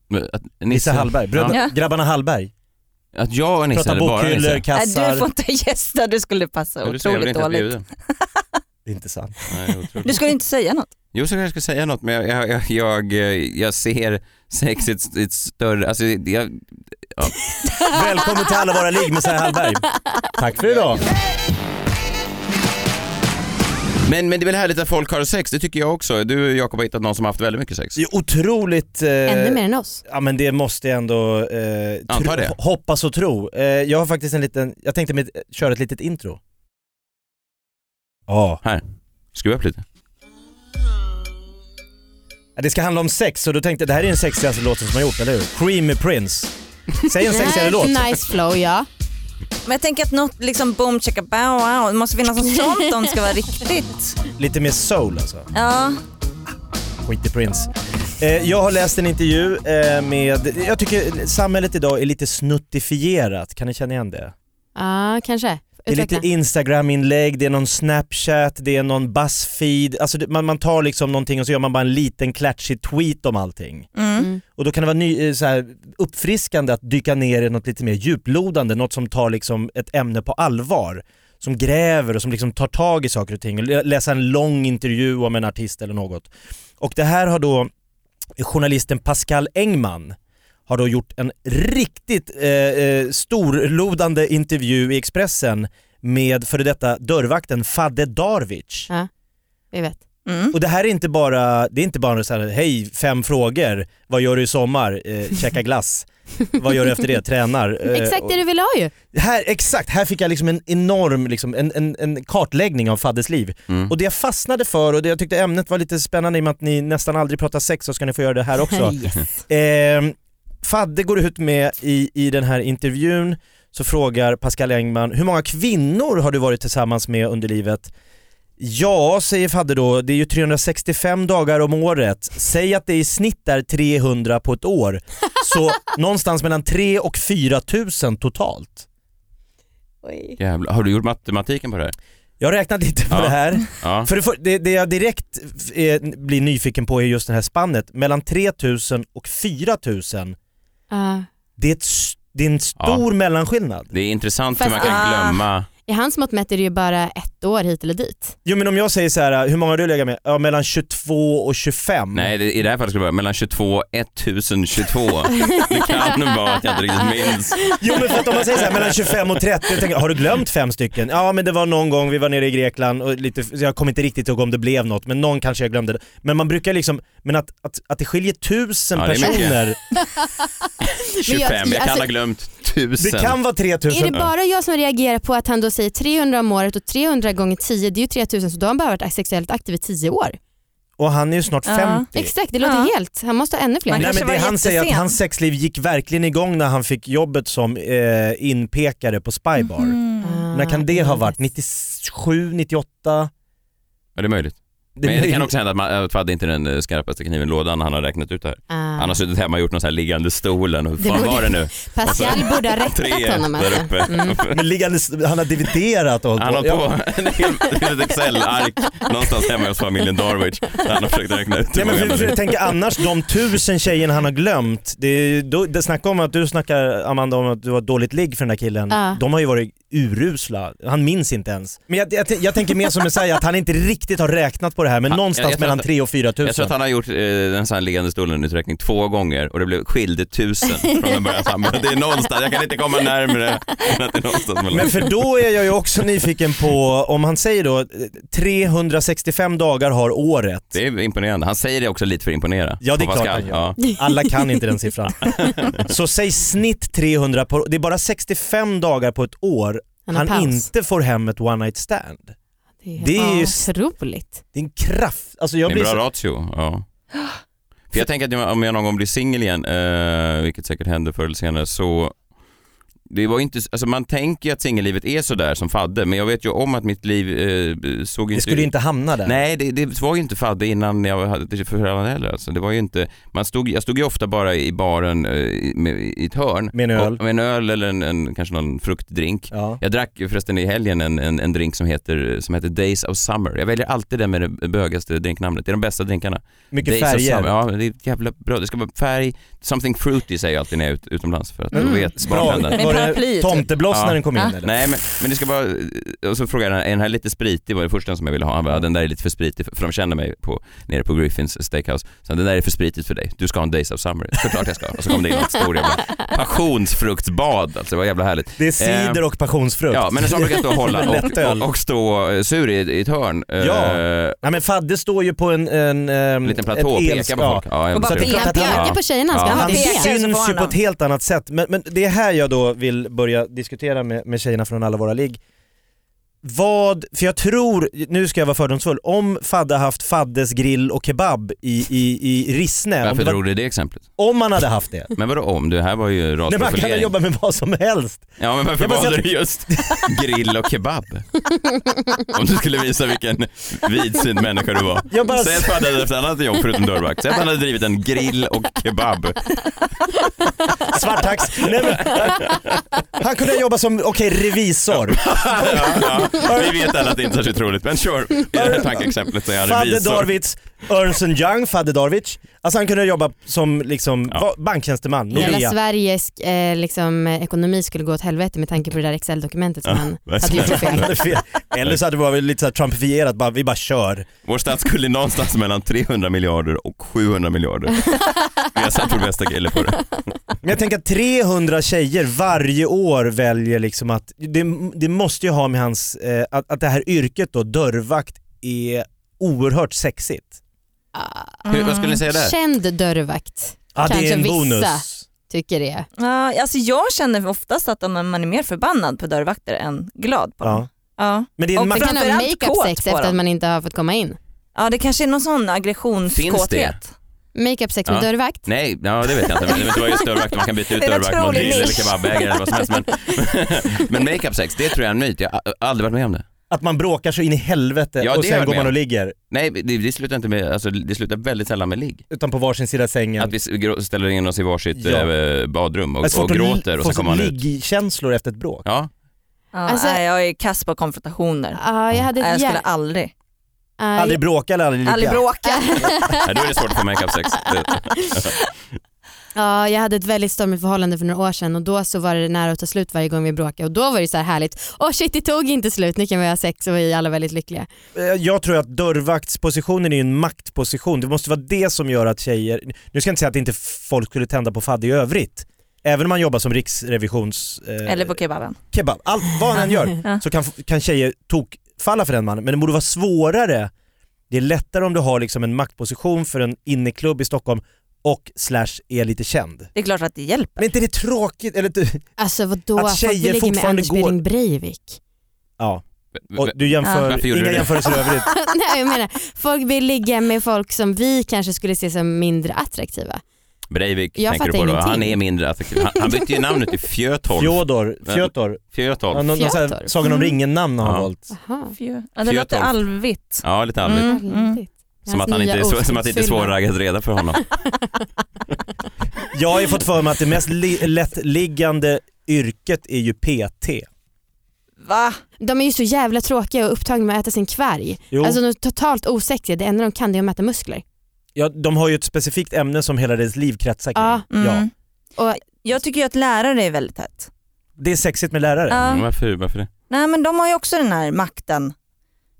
[SPEAKER 4] Men att, Nisse,
[SPEAKER 7] Nisse Hallberg, Bröderna,
[SPEAKER 6] Ja.
[SPEAKER 7] grabbarna Hallberg.
[SPEAKER 4] Att jag och Nisse,
[SPEAKER 7] Pratar
[SPEAKER 4] eller bara
[SPEAKER 7] bokhyllor,
[SPEAKER 4] Nisse.
[SPEAKER 6] Nej, du
[SPEAKER 7] kassar.
[SPEAKER 6] får inte gästa, du skulle passa
[SPEAKER 4] Ja, du ser, jag blir inte
[SPEAKER 6] otroligt
[SPEAKER 4] ens bjuden.
[SPEAKER 6] dåligt.
[SPEAKER 7] Det är inte sant.
[SPEAKER 4] Nej, otroligt.
[SPEAKER 6] Du skulle inte säga något.
[SPEAKER 4] Jo, så kanske jag ska säga något, men jag, jag, jag, jag, eh, jag ser sex i ett, i ett större... Alltså, jag,
[SPEAKER 7] Välkommen till alla våra ligg med Messiah Hallberg. Tack för idag.
[SPEAKER 4] men, men det är väl härligt att folk har sex, det tycker jag också. Du Jakob har hittat någon som har haft väldigt mycket sex.
[SPEAKER 7] Det är otroligt... eh,
[SPEAKER 5] Ännu mer än oss.
[SPEAKER 7] Ja men det måste jag ändå eh,
[SPEAKER 4] Anta
[SPEAKER 7] tro,
[SPEAKER 4] det.
[SPEAKER 7] hoppas och tro. Eh, jag har faktiskt en liten, jag tänkte med, köra ett litet intro. Ja.
[SPEAKER 4] Skruva upp lite.
[SPEAKER 7] Det ska handla om sex så då tänkte jag, det här är den sexigaste låten som har gjort, eller hur? Cream med Prince. Säg en sexigare låt.
[SPEAKER 5] Nice flow ja.
[SPEAKER 6] Men jag tänker att något liksom boom chicka bow wow, det måste finnas något sånt om det ska vara riktigt.
[SPEAKER 7] Lite mer soul alltså.
[SPEAKER 6] Ja,
[SPEAKER 7] Skit i Prince. Eh, jag har läst en intervju eh, med, jag tycker samhället idag är lite snuttifierat, kan ni känna igen det?
[SPEAKER 5] Ja kanske.
[SPEAKER 7] Det är lite
[SPEAKER 5] Utveckla.
[SPEAKER 7] Instagram-inlägg, det är någon Snapchat, det är någon Buzzfeed. Alltså det, man, man tar liksom någonting och så gör man bara en liten klatschig tweet om allting.
[SPEAKER 5] Mm.
[SPEAKER 7] Och då kan det vara ny, eh, så här, uppfriskande att dyka ner i något lite mer djuplodande, något som tar liksom ett ämne på allvar. Som gräver och som liksom tar tag i saker och ting. Och lä- Läsa en lång intervju om en artist eller något. Och det här har då journalisten Pascal Engman har då gjort en riktigt eh, eh, storlodande intervju i Expressen med före detta dörrvakten Fadde Darvic.
[SPEAKER 5] Vi vet.
[SPEAKER 6] mm.
[SPEAKER 7] Och det här är inte bara, det är inte bara så här, hej fem frågor, vad gör du i sommar, eh, käka glass, vad gör du efter det, tränar. Eh,
[SPEAKER 5] Exakt det du vill ha ju.
[SPEAKER 7] och- här, exakt, här fick jag liksom en enorm liksom, en, en, en kartläggning av Faddes liv.
[SPEAKER 4] Mm.
[SPEAKER 7] Och det jag fastnade för och det jag tyckte ämnet var lite spännande i och med att ni nästan aldrig pratar sex så ska ni få göra det här också.
[SPEAKER 5] Yes.
[SPEAKER 7] Ehm, Fadde går ut med i, i den här intervjun, så frågar Pascal Engman, hur många kvinnor har du varit tillsammans med under livet? Ja, säger Fadde då, det är ju 365 dagar om året. Säg att det i snitt är 300 på ett år. Så någonstans mellan 3 och 4 000 totalt.
[SPEAKER 5] Oj.
[SPEAKER 4] Jävlar. Har du gjort matematiken på det här?
[SPEAKER 7] Jag har räknat lite på
[SPEAKER 4] Ja.
[SPEAKER 7] det här.
[SPEAKER 4] Ja.
[SPEAKER 7] För det, för, det, det jag direkt eh, blir nyfiken på är just det här spannet. Mellan 3 000 och 4 000,
[SPEAKER 5] Ja.
[SPEAKER 7] det är, ett, s- det är en stor mellanskillnad.
[SPEAKER 4] Det är intressant hur
[SPEAKER 5] Fast-
[SPEAKER 4] man kan
[SPEAKER 6] Ah.
[SPEAKER 4] glömma.
[SPEAKER 5] I hans mått mätt är det ju bara ett år hit eller dit.
[SPEAKER 7] Jo men om jag säger så här, eh, hur många har du legat med? Ja, mellan 22 och 25.
[SPEAKER 4] Nej, det, i det här fallet skulle det vara mellan 22 och 1022. Det kan vara att jag inte riktigt minns.
[SPEAKER 7] Jo men för att om man säger så här, mellan 25 och 30, jag tänker, har du glömt fem stycken? Ja men det var någon gång vi var nere i Grekland och lite, så jag kommer inte riktigt ihåg om det blev något, men någon kanske jag glömde. Men man brukar liksom, men att, att, att det skiljer tusen
[SPEAKER 4] Ja, det är mycket.
[SPEAKER 7] personer,
[SPEAKER 4] 25, jag, kan
[SPEAKER 5] alltså-
[SPEAKER 4] ha glömt 1000.
[SPEAKER 7] det kan vara 3000.
[SPEAKER 5] Är det bara jag som reagerar på att han då säger 300 om året och 300 gånger 10 det är ju 3000 så då har han bara varit sexuellt aktiv i 10 år.
[SPEAKER 7] Och han är ju snart
[SPEAKER 6] Ja.
[SPEAKER 7] 50.
[SPEAKER 5] Exakt, det låter
[SPEAKER 6] Ja.
[SPEAKER 5] helt. Han måste ha ännu fler.
[SPEAKER 6] Man
[SPEAKER 7] Nej,
[SPEAKER 6] kanske
[SPEAKER 7] men det
[SPEAKER 6] var
[SPEAKER 7] han säger att
[SPEAKER 6] jättesen.
[SPEAKER 7] hans sexliv gick verkligen igång när han fick jobbet som eh, inpekare på Spybar.
[SPEAKER 6] Mhm. Mm.
[SPEAKER 5] Ah,
[SPEAKER 7] När kan det ha varit?
[SPEAKER 5] yes.
[SPEAKER 7] 97, 98?
[SPEAKER 4] Ja, det är möjligt.
[SPEAKER 7] Det
[SPEAKER 4] Men det
[SPEAKER 7] blir-
[SPEAKER 4] kan också hända att, man, att Fadde inte är den eh, skarpaste kniven i lådan han har räknat ut det här.
[SPEAKER 5] Ah.
[SPEAKER 4] Han har suttit hemma och gjort någon sån här liggande stolen. Hur
[SPEAKER 5] Det
[SPEAKER 4] fan
[SPEAKER 5] borde-
[SPEAKER 4] var det nu?
[SPEAKER 5] Pascal borde ha
[SPEAKER 4] Tre
[SPEAKER 5] rättat honom
[SPEAKER 4] där
[SPEAKER 5] alltså.
[SPEAKER 4] uppe.
[SPEAKER 5] Mm.
[SPEAKER 7] Men liggande, han har dividerat och hållit
[SPEAKER 4] Han har
[SPEAKER 7] på. Ja.
[SPEAKER 4] på en hel- ett litet Excel-ark någonstans hemma hos familjen Darwich där han har försökt räkna ut hur
[SPEAKER 7] Nej, men för,
[SPEAKER 4] många
[SPEAKER 7] för,
[SPEAKER 4] det
[SPEAKER 7] jag
[SPEAKER 4] är.
[SPEAKER 7] tänker annars, de tusen tjejerna han har glömt, det, är- då, det snackar om att du snackar Amanda om att du har dåligt ligg för den där killen.
[SPEAKER 5] Ja.
[SPEAKER 7] De har ju varit urusla, han minns inte ens. Men jag, jag, jag tänker mer som Messiah att han inte riktigt har räknat på det här men
[SPEAKER 4] Ja, jag-
[SPEAKER 7] någonstans
[SPEAKER 4] jag tror
[SPEAKER 7] mellan
[SPEAKER 4] att-
[SPEAKER 7] 3 och 4
[SPEAKER 4] Jag tror
[SPEAKER 7] tusen.
[SPEAKER 4] att han har gjort eh, den sån här liggande stolen-uträkning två gånger och det blev skilde tusen från den början. Så han bara, Det är någonstans, jag kan inte komma närmre än att det är någonstans mellan.
[SPEAKER 7] Men för då är jag ju också nyfiken på, om han säger då eh, 365 dagar har året.
[SPEAKER 4] Det är imponerande. Han säger det också lite för att imponera.
[SPEAKER 7] Ja, det är
[SPEAKER 4] På
[SPEAKER 7] klart
[SPEAKER 4] Pascal.
[SPEAKER 7] han gör.
[SPEAKER 5] alltså.
[SPEAKER 7] Alla kan inte den siffran. Så säg snitt 300 på, det är bara 65 dagar på ett år
[SPEAKER 5] Han har
[SPEAKER 7] han
[SPEAKER 5] paus.
[SPEAKER 7] inte får hem ett one night stand.
[SPEAKER 5] Det
[SPEAKER 7] det
[SPEAKER 5] är
[SPEAKER 7] är ju
[SPEAKER 5] ju
[SPEAKER 7] s-
[SPEAKER 5] otroligt.
[SPEAKER 7] Det är en kraft, alltså jag
[SPEAKER 4] Det är
[SPEAKER 7] blir
[SPEAKER 4] en
[SPEAKER 7] så...
[SPEAKER 4] bra ratio. Ja. För jag tänker att om jag någon gång blir singel igen, eh, vilket säkert händer förr eller senare, så det var inte, alltså man tänker ju att singellivet är sådär som Fadde, men jag vet ju om att mitt liv eh, såg
[SPEAKER 7] Det
[SPEAKER 4] inte
[SPEAKER 7] skulle
[SPEAKER 4] ut-
[SPEAKER 7] inte hamna där.
[SPEAKER 4] Nej, det, det var ju inte Fadde innan jag hade ett förhållande heller. Alltså, det var ju inte, man stod, jag stod ju ofta bara i baren eh, i, med, i ett hörn.
[SPEAKER 7] Med en öl.
[SPEAKER 4] Och, med en öl eller en, en, kanske någon fruktdrink.
[SPEAKER 7] Ja.
[SPEAKER 4] Jag drack ju förresten i helgen en, en, en drink som heter, som heter Days of Summer. Jag väljer alltid den med det bögaste drinknamnet. Det är de bästa drinkarna.
[SPEAKER 7] Mycket
[SPEAKER 4] Days of Summer.
[SPEAKER 7] färger.
[SPEAKER 4] Ja, det är jävla bra. Det ska vara färg, something fruity säger jag alltid när jag är ut, utomlands för att då
[SPEAKER 5] Mm.
[SPEAKER 4] vet
[SPEAKER 7] Bra.
[SPEAKER 4] bartendern.
[SPEAKER 6] Men
[SPEAKER 7] Var var det
[SPEAKER 6] paraplyet.
[SPEAKER 7] tomtebloss
[SPEAKER 4] Ja.
[SPEAKER 7] när den kom in
[SPEAKER 6] Ja.
[SPEAKER 7] eller?
[SPEAKER 4] Nej men, men det ska bara, och så frågade jag, är den här lite spritig? var det första som jag ville ha. Han bara, "Ja, den där är lite för spritig, för för de känner mig på, nere på Griffins Steakhouse. Så den där är för spritigt för dig, du ska ha en Days of Summer. Såklart jag ska. Och så kom det in något stor jävla passionsfruktbad, alltså det var jävla härligt.
[SPEAKER 7] Det är cider och passionsfrukt.
[SPEAKER 4] Ehm, Ja men en sån brukar jag stå och hålla och,
[SPEAKER 7] Lättöl.
[SPEAKER 4] och, och stå eh, sur i, i ett hörn.
[SPEAKER 7] Ja.
[SPEAKER 4] Eh,
[SPEAKER 7] Nej men Fadde står ju på en... en ehm,
[SPEAKER 4] En liten platå och
[SPEAKER 7] ett
[SPEAKER 4] pekar
[SPEAKER 7] elska-
[SPEAKER 4] på folk. Ja, jag
[SPEAKER 6] Och bara
[SPEAKER 4] ser det.
[SPEAKER 6] pekar.
[SPEAKER 5] Han pekar på tjejerna, han ska
[SPEAKER 4] Ja.
[SPEAKER 5] han
[SPEAKER 7] Han
[SPEAKER 5] vara
[SPEAKER 6] pekar. så
[SPEAKER 5] pek?
[SPEAKER 6] får
[SPEAKER 7] Alltså, syns ju
[SPEAKER 6] han
[SPEAKER 7] på
[SPEAKER 6] dem.
[SPEAKER 7] ett helt annat sätt. Men, men det är här jag då vill börja diskutera med, med tjejerna från alla våra ligg. Vad, för jag tror, nu ska jag vara fördomsfull, om Fadde haft Faddes grill och kebab i, i, i Rissne, om,
[SPEAKER 4] Varför
[SPEAKER 7] det var,
[SPEAKER 4] drog du det exemplet?
[SPEAKER 7] om han hade haft det.
[SPEAKER 4] Men vadå om? Det här var ju
[SPEAKER 7] Nej, man kan väl
[SPEAKER 4] rasprofilering.
[SPEAKER 7] jobba med vad som helst.
[SPEAKER 4] Ja men varför
[SPEAKER 7] Jag bara
[SPEAKER 4] valde
[SPEAKER 7] säger-
[SPEAKER 4] du just grill och kebab? Om du skulle visa vilken vidsynt människa du var.
[SPEAKER 7] Jag bara-
[SPEAKER 4] Säg att han hade haft ett annat jobb förutom dörrvakt. Säg att han hade drivit en grill och kebab.
[SPEAKER 7] Svarttax. Nej, men, han kunde jobba som, okej, revisor.
[SPEAKER 4] Ja, ja. Vi vet alla att det inte är så otroligt men kör. I det här tankeexemplet så är han
[SPEAKER 7] Fadde
[SPEAKER 4] revisor.
[SPEAKER 7] Darvids, Ernst Young, Fadde Darvids. Alltså han kunde jobba som liksom,
[SPEAKER 4] Ja.
[SPEAKER 7] va- banktjänsteman,
[SPEAKER 5] Hela
[SPEAKER 7] Nordea.
[SPEAKER 5] Sveriges eh, liksom, eh, ekonomi skulle gå åt helvete med tanke på det där Excel-dokumentet som han
[SPEAKER 4] vad
[SPEAKER 5] hade gjort för fel.
[SPEAKER 7] Eller fel. Eller så hade det varit lite så här trumpifierat, bara, vi bara kör.
[SPEAKER 4] Vår statsskuld är någonstans mellan 300 miljarder och 700 miljarder. Vi har satt vår bästa kille på det.
[SPEAKER 7] Men jag tänker att 300 tjejer varje år väljer liksom att, det, det måste ju ha med hans, eh, att, att det här yrket då, dörrvakt, är oerhört sexigt.
[SPEAKER 4] Hur, vad skulle ni säga
[SPEAKER 6] Mm.
[SPEAKER 4] där?
[SPEAKER 5] Känd dörrvakt
[SPEAKER 7] Ja, det
[SPEAKER 5] Kanske
[SPEAKER 7] är en
[SPEAKER 5] vissa.
[SPEAKER 7] bonus.
[SPEAKER 5] tycker det.
[SPEAKER 6] Ja, alltså jag känner oftast att man man är mer förbannad på dörrvakter än glad på dem.
[SPEAKER 7] Ja.
[SPEAKER 6] Ja.
[SPEAKER 7] Men det är en
[SPEAKER 6] Och
[SPEAKER 5] Man
[SPEAKER 7] ma-
[SPEAKER 6] det
[SPEAKER 5] kan ha
[SPEAKER 6] Framförallt
[SPEAKER 5] makeup
[SPEAKER 6] kåt
[SPEAKER 5] sex
[SPEAKER 6] på
[SPEAKER 5] efter att
[SPEAKER 6] dem.
[SPEAKER 5] man inte har fått komma in.
[SPEAKER 6] ja, det kanske är någon sån
[SPEAKER 4] Finns det?
[SPEAKER 6] aggressionskåthet.
[SPEAKER 5] Makeup sex med
[SPEAKER 4] Ja.
[SPEAKER 5] dörrvakt.
[SPEAKER 4] Nej, ja, det vet jag inte. Men det var just dörrvakt, man kan byta ut
[SPEAKER 6] Det är en
[SPEAKER 4] dörrvakt mot
[SPEAKER 6] otrolig
[SPEAKER 4] grill eller
[SPEAKER 6] nisch.
[SPEAKER 4] kebabägare eller vad som helst. Men, men makeup sex, det tror jag är en myt. Jag har aldrig varit med om det.
[SPEAKER 7] att man bråkar så in i helvete
[SPEAKER 4] Ja,
[SPEAKER 7] och
[SPEAKER 4] det är
[SPEAKER 7] sen
[SPEAKER 4] jag
[SPEAKER 7] går man
[SPEAKER 4] med.
[SPEAKER 7] och ligger.
[SPEAKER 4] Nej, det, det slutar inte med, alltså, det slutar väldigt sällan med ligg.
[SPEAKER 7] Utan på varsin sida sängen.
[SPEAKER 4] Att vi s- grå- ställer in oss i varsitt
[SPEAKER 7] Ja.
[SPEAKER 4] eh, badrum och,
[SPEAKER 7] Alltså,
[SPEAKER 4] och
[SPEAKER 7] folk har-
[SPEAKER 4] gråter och
[SPEAKER 7] folk
[SPEAKER 4] så kommer man
[SPEAKER 7] har
[SPEAKER 4] ut.
[SPEAKER 7] liggkänslor efter ett bråk.
[SPEAKER 4] Ja,
[SPEAKER 6] Ja,
[SPEAKER 5] Alltså-
[SPEAKER 6] nej, jag är kass på konfrontationer.
[SPEAKER 5] Ja, jag hade
[SPEAKER 6] Nej,
[SPEAKER 5] ett
[SPEAKER 6] jag skulle
[SPEAKER 5] jä-
[SPEAKER 6] aldrig,
[SPEAKER 5] Ja,
[SPEAKER 7] Aldrig bråka eller aldrig ligga.
[SPEAKER 6] aldrig bråka.
[SPEAKER 4] Nej, då är det svårt att få makeup sex. Det-
[SPEAKER 5] Ja, jag hade ett väldigt stormigt förhållande för några år sedan och då så var det nära att ta slut varje gång vi bråkade och då var det så här härligt. Åh shit, det tog inte slut, nu kan vi ha sex och vi är alla väldigt lyckliga.
[SPEAKER 7] Eh, Jag tror att dörrvaktspositionen är ju en maktposition. Det måste vara det som gör att tjejer, nu ska jag inte säga att inte folk skulle tända på fadde i övrigt. Även om man jobbar som riksrevisions... eh,
[SPEAKER 6] Eller på kebaben.
[SPEAKER 7] kebab. Allt vad han än gör
[SPEAKER 6] Ja.
[SPEAKER 7] så kan, kan tjejer tok falla för den mannen. Men det borde vara svårare. Det är lättare om du har liksom en maktposition för en inneklubb i Stockholm och slash är lite känd.
[SPEAKER 6] Det är klart att det hjälper.
[SPEAKER 7] Men inte det är tråkigt? Eller, du-
[SPEAKER 5] Alltså vadå,
[SPEAKER 7] Att
[SPEAKER 5] folk
[SPEAKER 7] tjejer
[SPEAKER 5] vill ligga med
[SPEAKER 7] fortfarande
[SPEAKER 5] Anders
[SPEAKER 7] går-
[SPEAKER 5] Behring Breivik.
[SPEAKER 7] ja, och du jämför,
[SPEAKER 4] Varför gjorde
[SPEAKER 7] inga
[SPEAKER 4] du det?
[SPEAKER 7] jämförelser i övrigt.
[SPEAKER 5] Nej jag menar, folk vill ligga med folk som vi kanske skulle se som mindre attraktiva.
[SPEAKER 4] Breivik
[SPEAKER 5] Jag
[SPEAKER 4] tänker du på
[SPEAKER 5] fattar
[SPEAKER 4] då. Han
[SPEAKER 5] ingenting.
[SPEAKER 4] är mindre attraktiv. Han, han bytte ju namnet till Fjötolv.
[SPEAKER 7] Fjodor, Fjötor, ja,
[SPEAKER 4] Fjötolv.
[SPEAKER 7] någon, någon sån här
[SPEAKER 5] Fjötor.
[SPEAKER 7] Sagan om ringen-namn har han
[SPEAKER 4] Ja.
[SPEAKER 7] valt.
[SPEAKER 5] Jaha,
[SPEAKER 6] Ja, det låter
[SPEAKER 4] Fjötolv.
[SPEAKER 6] alvigt.
[SPEAKER 4] Ja, lite allmänt.
[SPEAKER 6] Mm,
[SPEAKER 5] väldigt.
[SPEAKER 4] Som, att han inte, är så- som att det inte är svårraggat reda för honom.
[SPEAKER 7] Jag har ju fått för mig att det mest li- lättliggande yrket är ju PT.
[SPEAKER 6] Va?
[SPEAKER 5] De är ju så jävla tråkiga och upptagna med att äta sin kvarg.
[SPEAKER 7] Jo,
[SPEAKER 5] Alltså de är totalt osexiga, det enda de kan det är att mäta muskler.
[SPEAKER 7] ja, de har ju ett specifikt ämne som hela deras liv kretsar kring.
[SPEAKER 5] Ja.
[SPEAKER 7] Ja.
[SPEAKER 6] Mm.
[SPEAKER 5] Och-
[SPEAKER 6] Jag tycker ju att lärare är väldigt hett.
[SPEAKER 7] Det är sexigt med lärare.
[SPEAKER 6] Ja.
[SPEAKER 4] Men Varför, varför det?
[SPEAKER 6] Nej men de har ju också den här makten.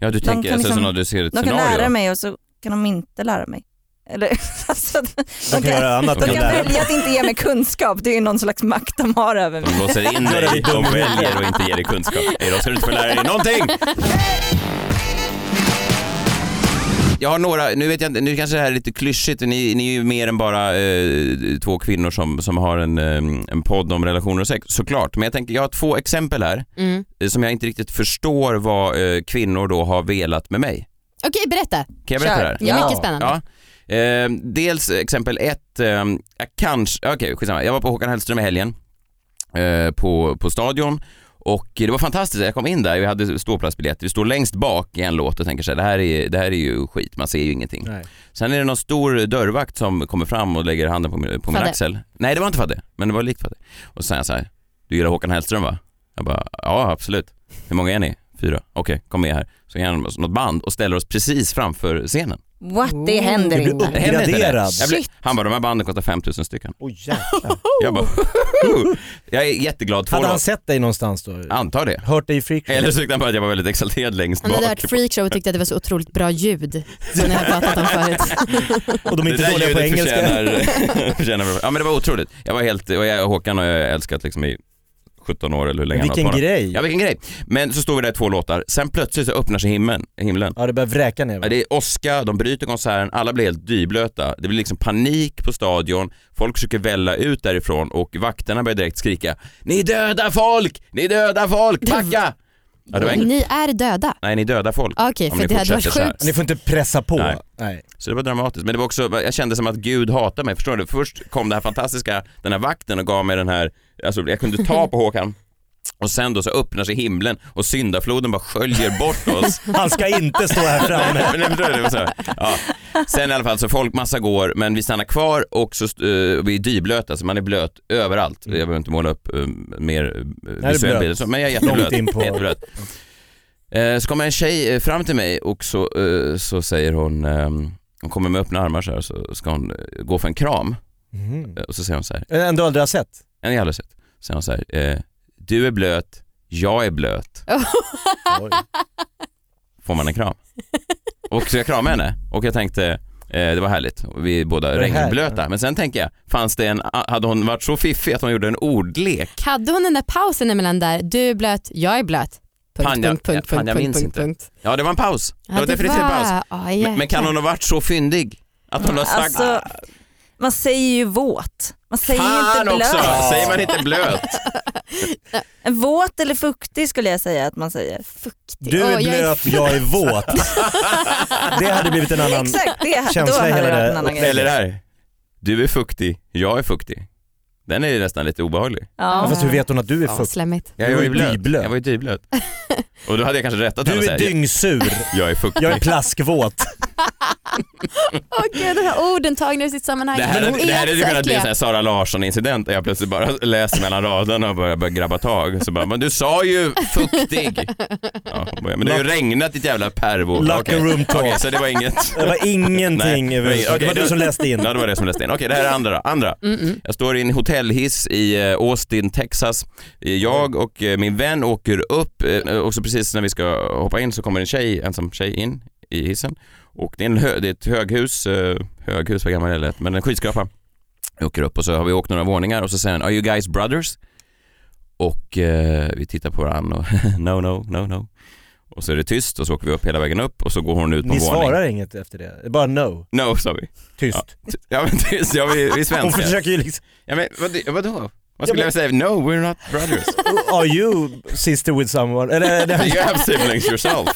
[SPEAKER 4] Ja, du tänker
[SPEAKER 6] kan
[SPEAKER 4] alltså,
[SPEAKER 6] liksom-
[SPEAKER 4] som när du ser ett
[SPEAKER 6] De kan
[SPEAKER 4] scenario.
[SPEAKER 6] lära mig och så kan de inte lära mig. Eller, alltså, de,
[SPEAKER 7] De kan göra annat
[SPEAKER 6] de
[SPEAKER 7] än
[SPEAKER 6] kan
[SPEAKER 7] lärare.
[SPEAKER 6] välja att inte ge mig kunskap, det är ju någon slags makt de har över mig.
[SPEAKER 4] De låser in dig, de väljer och inte ger dig kunskap. Idag ska du inte få lära dig någonting! Jag har några, nu vet jag inte, nu kanske det här är lite klyschigt, ni, ni är ju mer än bara eh, två kvinnor som, som har en, eh, en podd om relationer och sex, såklart. Men jag tänker, jag har två exempel här
[SPEAKER 5] Mm.
[SPEAKER 4] eh, som jag inte riktigt förstår vad eh, kvinnor då har velat med mig.
[SPEAKER 5] Okej berätta,
[SPEAKER 4] Kan jag berätta det här?
[SPEAKER 5] det är mycket spännande.
[SPEAKER 4] Ja. Eh, dels exempel ett, eh, jag kanske, okej skitsamma. Jag var på Håkan Hellström i helgen eh, på, på stadion och det var fantastiskt. Jag kom in där, vi hade ståplatsbiljetter, vi står längst bak i en låt och tänker så här, det här är, det här är ju skit, man ser ju ingenting.
[SPEAKER 7] Nej.
[SPEAKER 4] Sen är det någon stor dörrvakt som kommer fram och lägger handen på min, på min
[SPEAKER 5] Fadde.
[SPEAKER 4] axel. Nej det var inte Fadde, men det var likt Fadde. Och så säger han så här, du gillar Håkan Hellström va? Jag bara, ja absolut. Hur många är ni? Fyra. Okej, kom med här. Så ger han oss något band och ställer oss precis framför scenen.
[SPEAKER 6] What, det händer
[SPEAKER 7] Det blir
[SPEAKER 6] inte.
[SPEAKER 4] Det hände inte det.
[SPEAKER 7] Graderad.
[SPEAKER 4] Jag blev, han bara, de här banden kostar 5000 stycken.
[SPEAKER 7] Åh jäklar.
[SPEAKER 5] Oh.
[SPEAKER 4] Jag bara, "Woohoo!" jag är jätteglad. Två
[SPEAKER 7] Hade han
[SPEAKER 4] låt.
[SPEAKER 7] sett dig någonstans då?
[SPEAKER 4] Antar det.
[SPEAKER 7] Hört dig i freakshow?
[SPEAKER 4] Eller så tyckte han bara att jag var väldigt exalterad längst
[SPEAKER 5] Han
[SPEAKER 4] bak.
[SPEAKER 5] hade hört freakshow och tyckte att det var så otroligt bra ljud som ni har pratat om förut.
[SPEAKER 7] Och de
[SPEAKER 4] Det
[SPEAKER 7] är inte
[SPEAKER 4] där
[SPEAKER 7] dåliga på
[SPEAKER 4] ljudet
[SPEAKER 7] engelska.
[SPEAKER 4] förtjänar, förtjänar bra. Ja men det var otroligt. Jag var helt, och jag, Håkan har jag älskat liksom i 17 år eller hur länge han har
[SPEAKER 7] Vilken
[SPEAKER 4] hållit på honom.
[SPEAKER 7] grej.
[SPEAKER 4] Ja vilken grej. Men så står vi där i två låtar, sen plötsligt så öppnar sig himlen. himlen.
[SPEAKER 7] Ja det börjar vräka
[SPEAKER 4] Ja,
[SPEAKER 7] ner.
[SPEAKER 4] Det är åska, de bryter konserten, alla blir helt dyblöta. Det blir liksom panik på stadion, folk försöker välla ut därifrån och vakterna börjar direkt skrika Ni dödar folk! Ni dödar folk! Backa! Ja, det var en...
[SPEAKER 5] Ni är döda.
[SPEAKER 4] Nej, ni dödar folk.
[SPEAKER 5] Ah, Okej,
[SPEAKER 4] Om
[SPEAKER 5] för
[SPEAKER 4] ni
[SPEAKER 5] det hade varit
[SPEAKER 4] fortsätter så här.
[SPEAKER 5] sjukt.
[SPEAKER 7] Ni får inte pressa på.
[SPEAKER 4] Nej.
[SPEAKER 7] Nej.
[SPEAKER 4] Så det var dramatiskt. Men det var också, jag kände som att Gud hatade mig, förstår du? Först kom det här fantastiska, den här vakten och gav mig den här, alltså jag kunde ta på Håkan och sen då så öppnar sig himlen och syndafloden bara sköljer bort oss.
[SPEAKER 7] Han ska inte stå här framme.
[SPEAKER 4] Men jag förstår det, det var så här. ja. Sen i alla fall så folk, massa går men vi stannar kvar och så st- eh, och vi är dyblöta så man är blöt överallt. Jag behöver inte måla upp eh, mer eh,
[SPEAKER 7] Mm. är
[SPEAKER 4] visuell
[SPEAKER 7] blöt.
[SPEAKER 4] bild så, men jag är jätteblöt.
[SPEAKER 7] Långt in på-
[SPEAKER 4] jätteblöt. Eh, Så kommer en tjej eh, fram till mig och så, eh, så säger hon, eh, hon kommer med öppna armar så här så ska hon eh, gå för en kram
[SPEAKER 7] Mm.
[SPEAKER 4] Eh, och så säger hon så här,
[SPEAKER 7] En du aldrig har sett?
[SPEAKER 4] en i alla sätt, så säger hon så här, eh, du är blöt, jag är blöt.
[SPEAKER 7] Oj.
[SPEAKER 4] får man en kram. Och så jag kramade henne och jag tänkte eh, det var härligt, Och vi är båda
[SPEAKER 7] Var det
[SPEAKER 4] regnblöta.
[SPEAKER 7] härligt?
[SPEAKER 4] Men sen tänker jag, fanns det en, hade hon varit så fiffig att hon gjorde en ordlek?
[SPEAKER 5] Hade hon den där pausen emellan där, du är blöt, jag är blöt. Punkt,
[SPEAKER 4] Fan, jag-
[SPEAKER 5] punkt, punkt,
[SPEAKER 4] fan,
[SPEAKER 5] punkt,
[SPEAKER 4] jag
[SPEAKER 5] punkt,
[SPEAKER 4] minns
[SPEAKER 5] punkt,
[SPEAKER 4] inte.
[SPEAKER 5] punkt.
[SPEAKER 4] Ja det var en paus, det
[SPEAKER 5] Ja,
[SPEAKER 4] var definitivt en paus.
[SPEAKER 5] Ah,
[SPEAKER 4] Men, men kan
[SPEAKER 5] jäklar.
[SPEAKER 4] hon ha varit så fyndig? Att hon har sagt
[SPEAKER 6] Alltså, man säger ju våt. Man säger ju
[SPEAKER 4] Fan
[SPEAKER 6] inte blöt.
[SPEAKER 4] också, säger man inte blöt?
[SPEAKER 6] En våt eller fuktig skulle jag säga att man säger.
[SPEAKER 7] Du är
[SPEAKER 5] Åh, jag är-
[SPEAKER 7] blöt, jag är våt. Det hade blivit en annan...
[SPEAKER 6] Exakt, det, då
[SPEAKER 7] Känsla
[SPEAKER 6] hade
[SPEAKER 7] hela
[SPEAKER 6] det
[SPEAKER 7] det-
[SPEAKER 6] varit en annan
[SPEAKER 4] Eller
[SPEAKER 6] grej.
[SPEAKER 4] det här, du är fuktig, jag är fuktig. Den är ju nästan lite obehaglig.
[SPEAKER 7] Ja,
[SPEAKER 6] Ja.
[SPEAKER 7] fast hur vet hon att du är
[SPEAKER 5] Ja,
[SPEAKER 7] fukt?
[SPEAKER 5] slemmigt.
[SPEAKER 4] Jag
[SPEAKER 7] Du
[SPEAKER 4] var
[SPEAKER 7] är
[SPEAKER 4] ju blöt.
[SPEAKER 7] dyblöt.
[SPEAKER 4] Jag var ju dyblöt. Och då hade jag kanske rättat henne och
[SPEAKER 7] Du är
[SPEAKER 4] säga, jag-
[SPEAKER 7] dyngsur,
[SPEAKER 4] jag är fuktig.
[SPEAKER 7] jag är plaskvåt.
[SPEAKER 5] Åh gud, de här orden tagna ur sitt sammanhang.
[SPEAKER 4] Det här,
[SPEAKER 5] Men
[SPEAKER 4] hade,
[SPEAKER 5] hon
[SPEAKER 4] det här hade ju
[SPEAKER 5] också
[SPEAKER 4] kunnat bli en
[SPEAKER 5] äckliga.
[SPEAKER 4] sån här Sara Larsson-incident där jag plötsligt bara läser mellan raderna och börjar, börjar grabba tag. Så bara, men du sa ju fuktig. Ja, hon bara, men det har ju regnat ditt jävla pervo.
[SPEAKER 7] Locker
[SPEAKER 4] Okej.
[SPEAKER 7] room talk.
[SPEAKER 4] Okej, så det var inget.
[SPEAKER 7] Det var ingenting
[SPEAKER 4] Nej,
[SPEAKER 7] över...
[SPEAKER 4] okej,
[SPEAKER 7] det var
[SPEAKER 4] du-
[SPEAKER 7] du som läste in.
[SPEAKER 4] Ja, det var det som läste in. Okej, det här är andra. andra.
[SPEAKER 5] Mm,
[SPEAKER 4] Jag står i en hotellhiss i eh, Austin, Texas. Eh,
[SPEAKER 7] Mm.
[SPEAKER 4] Jag och eh, min vän åker upp eh, och så precis när vi ska hoppa in så kommer en tjej, ensam tjej in i hissen. Och det är, en hö, det är ett höghus, eh, höghus, vad gammal är det lät, men en skyskrapa. Jag åker upp och så har vi åkt några våningar och så säger han “Are you guys brothers?” Och eh, vi tittar på varandra och “No, no, no, no” Och så är det tyst och så åker vi upp hela vägen upp och så går hon ut på en
[SPEAKER 7] Ni
[SPEAKER 4] våning.
[SPEAKER 7] svarar inget efter det, Det är bara no,
[SPEAKER 4] No, sa vi.
[SPEAKER 7] tyst.
[SPEAKER 4] Ja men tyst, ja, vi, vi är
[SPEAKER 7] Hon
[SPEAKER 4] svenskar.
[SPEAKER 7] försöker ju liksom,
[SPEAKER 4] Ja, men vad, vadå? Man skulle
[SPEAKER 7] Ja, men-
[SPEAKER 4] säga no we're not brothers.
[SPEAKER 7] are you sister with someone? Eller, nej,
[SPEAKER 4] You have siblings yourself.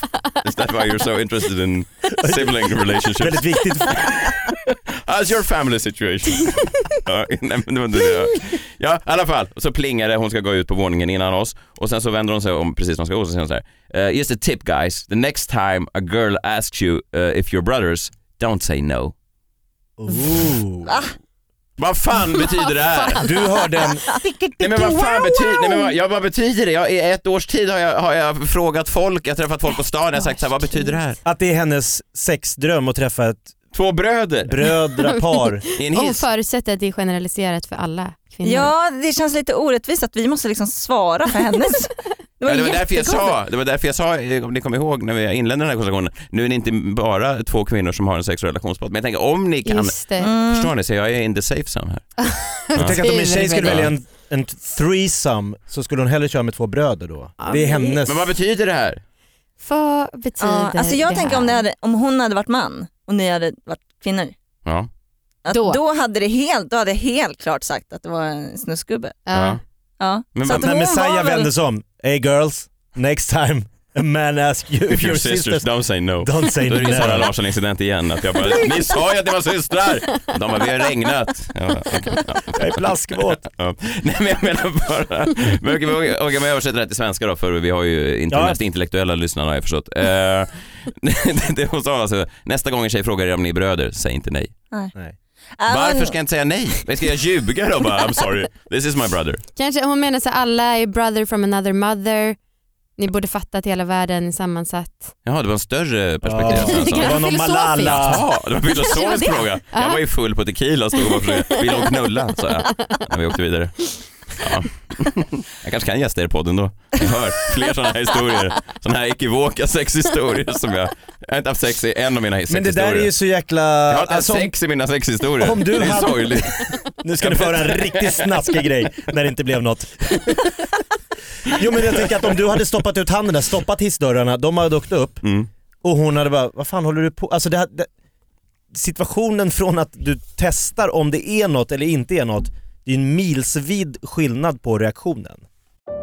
[SPEAKER 4] Is that why you're so interested in sibling relationships?
[SPEAKER 7] väldigt viktigt.
[SPEAKER 4] How's your family situation? ja, nej, men det var inte det. ja, i alla fall. Så plingar det, hon ska gå ut på våningen innan oss och sen så vänder hon sig om precis när hon ska gå och så säger hon så här. "Eh, just a tip guys, the next time a girl asks you eh, if you're brothers, don't say no.
[SPEAKER 7] Ooh.
[SPEAKER 4] Vad fan betyder det här?
[SPEAKER 7] Du hör den,
[SPEAKER 4] Nej men vad fan betyder, nej men vad, jag, vad betyder det? Jag, I ett års tid har jag, har jag frågat folk, jag har träffat folk på stan och jag har sagt så här, vad betyder det här?
[SPEAKER 7] att det är hennes sexdröm att träffa ett
[SPEAKER 4] Två bröder
[SPEAKER 7] brödrapar.
[SPEAKER 4] i en
[SPEAKER 5] Hon
[SPEAKER 4] hiss.
[SPEAKER 5] förutsätter att det är generaliserat för alla kvinnor.
[SPEAKER 6] Ja, det känns lite orättvist att vi måste liksom svara för hennes. Det var,
[SPEAKER 4] Ja, det, var därför jag
[SPEAKER 6] jättekonstigt.
[SPEAKER 4] sa, det var därför jag sa, eh, om ni kommer ihåg när jag inledde den här konversationen, nu är det inte bara två kvinnor som har en sexuell relationspodd, men jag tänker om ni kan,
[SPEAKER 5] Just
[SPEAKER 6] Mm.
[SPEAKER 5] det.
[SPEAKER 4] förstår ni, så jag är in the safe zone här.
[SPEAKER 7] Tänk att om en tjej skulle
[SPEAKER 5] Ja.
[SPEAKER 7] välja en, en threesome så skulle hon hellre köra med två bröder då. Det är hennes.
[SPEAKER 4] Men vad betyder det här?
[SPEAKER 5] Vad betyder
[SPEAKER 6] Ja, alltså jag
[SPEAKER 5] det
[SPEAKER 6] tänker
[SPEAKER 5] här?
[SPEAKER 6] om, det hade, om hon hade varit man och ni hade varit kvinnor.
[SPEAKER 4] Ja.
[SPEAKER 6] Att
[SPEAKER 5] Då.
[SPEAKER 6] då. hade det helt, då hade jag helt klart sagt att det var en snusgubbe.
[SPEAKER 5] Ja.
[SPEAKER 6] Ja.
[SPEAKER 4] Men
[SPEAKER 6] så
[SPEAKER 4] vad-
[SPEAKER 6] att
[SPEAKER 7] När
[SPEAKER 6] hon var
[SPEAKER 7] Messiah
[SPEAKER 6] väl-
[SPEAKER 7] vände sig om, hey girls, next time a man asks you if
[SPEAKER 4] If
[SPEAKER 7] your
[SPEAKER 4] your sisters
[SPEAKER 7] sisters
[SPEAKER 4] don't say no.
[SPEAKER 7] don't say
[SPEAKER 4] Då är det ju Sara
[SPEAKER 7] no.
[SPEAKER 4] Larsson incident igen, att jag bara, ni sa ju att ni var systrar! De bara, vi har regnat. Ja, okej.
[SPEAKER 7] Jag är plaskvåt.
[SPEAKER 4] Ja. Nej men jag menar bara, men okej, men okej, okej, men jag översätter det här till svenska då för vi har ju inte
[SPEAKER 7] Ja.
[SPEAKER 4] de mest intellektuella lyssnarna har jag förstått. Eh, det, det hon sa alltså, nästa gång en tjej frågar er om ni är bröder, säg inte nej.
[SPEAKER 6] Ja, men-
[SPEAKER 4] Varför ska jag inte säga nej? Men Ska jag ljuga då bara, I'm sorry, this is my brother.
[SPEAKER 5] Kanske hon menar så här, alla är brother from another mother. Ni borde fatta att hela världen är sammansatt.
[SPEAKER 4] Jaha, det var en större perspektiv.
[SPEAKER 7] Ja.
[SPEAKER 4] Alltså.
[SPEAKER 5] Det
[SPEAKER 7] Det
[SPEAKER 5] kanske
[SPEAKER 7] var någon
[SPEAKER 5] filosofiskt.
[SPEAKER 7] Malala.
[SPEAKER 4] Ja, det var en
[SPEAKER 5] Det
[SPEAKER 4] filosofisk
[SPEAKER 5] var det.
[SPEAKER 4] fråga. Jag
[SPEAKER 5] Ja.
[SPEAKER 4] var ju full på tequila och stod och bara försökte, ville hon knulla? sa jag när vi åkte vidare. Ja. Jag kanske kan gästa er i podden då. Jag hör fler sådana här historier. Sådana här ekivoka sexhistorier som jag, jag har inte haft sex i en av mina
[SPEAKER 7] Men det
[SPEAKER 4] sexhistorier.
[SPEAKER 7] där är ju så jäkla...
[SPEAKER 4] Jag har inte haft
[SPEAKER 7] alltså, om-
[SPEAKER 4] sex i mina sexhistorier.
[SPEAKER 7] om du
[SPEAKER 4] det är
[SPEAKER 7] hade-
[SPEAKER 4] sorgligt.
[SPEAKER 7] Nu ska ni få höra en riktigt snaskig grej när det inte blev något. Jo men jag tänker att om du hade stoppat ut handen där, stoppat hissdörrarna, de hade åkt upp
[SPEAKER 4] Mm.
[SPEAKER 7] och hon hade bara, vad fan håller du på Alltså det, här- det, situationen från att du testar om det är något eller inte är något, det är en milsvid skillnad på reaktionen.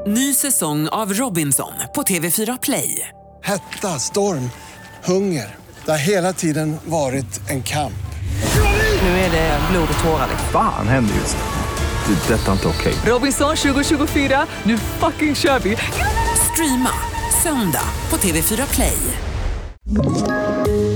[SPEAKER 1] Ny säsong av Robinson på TV4 Play.
[SPEAKER 2] Hetta, storm, hunger. Det har hela tiden varit en kamp.
[SPEAKER 6] Nu är det blod och tårar.
[SPEAKER 3] Fan händer just det. Det är detta inte okej.
[SPEAKER 1] Robinson 2024, nu fucking kör vi! Streama söndag på TV4 Play.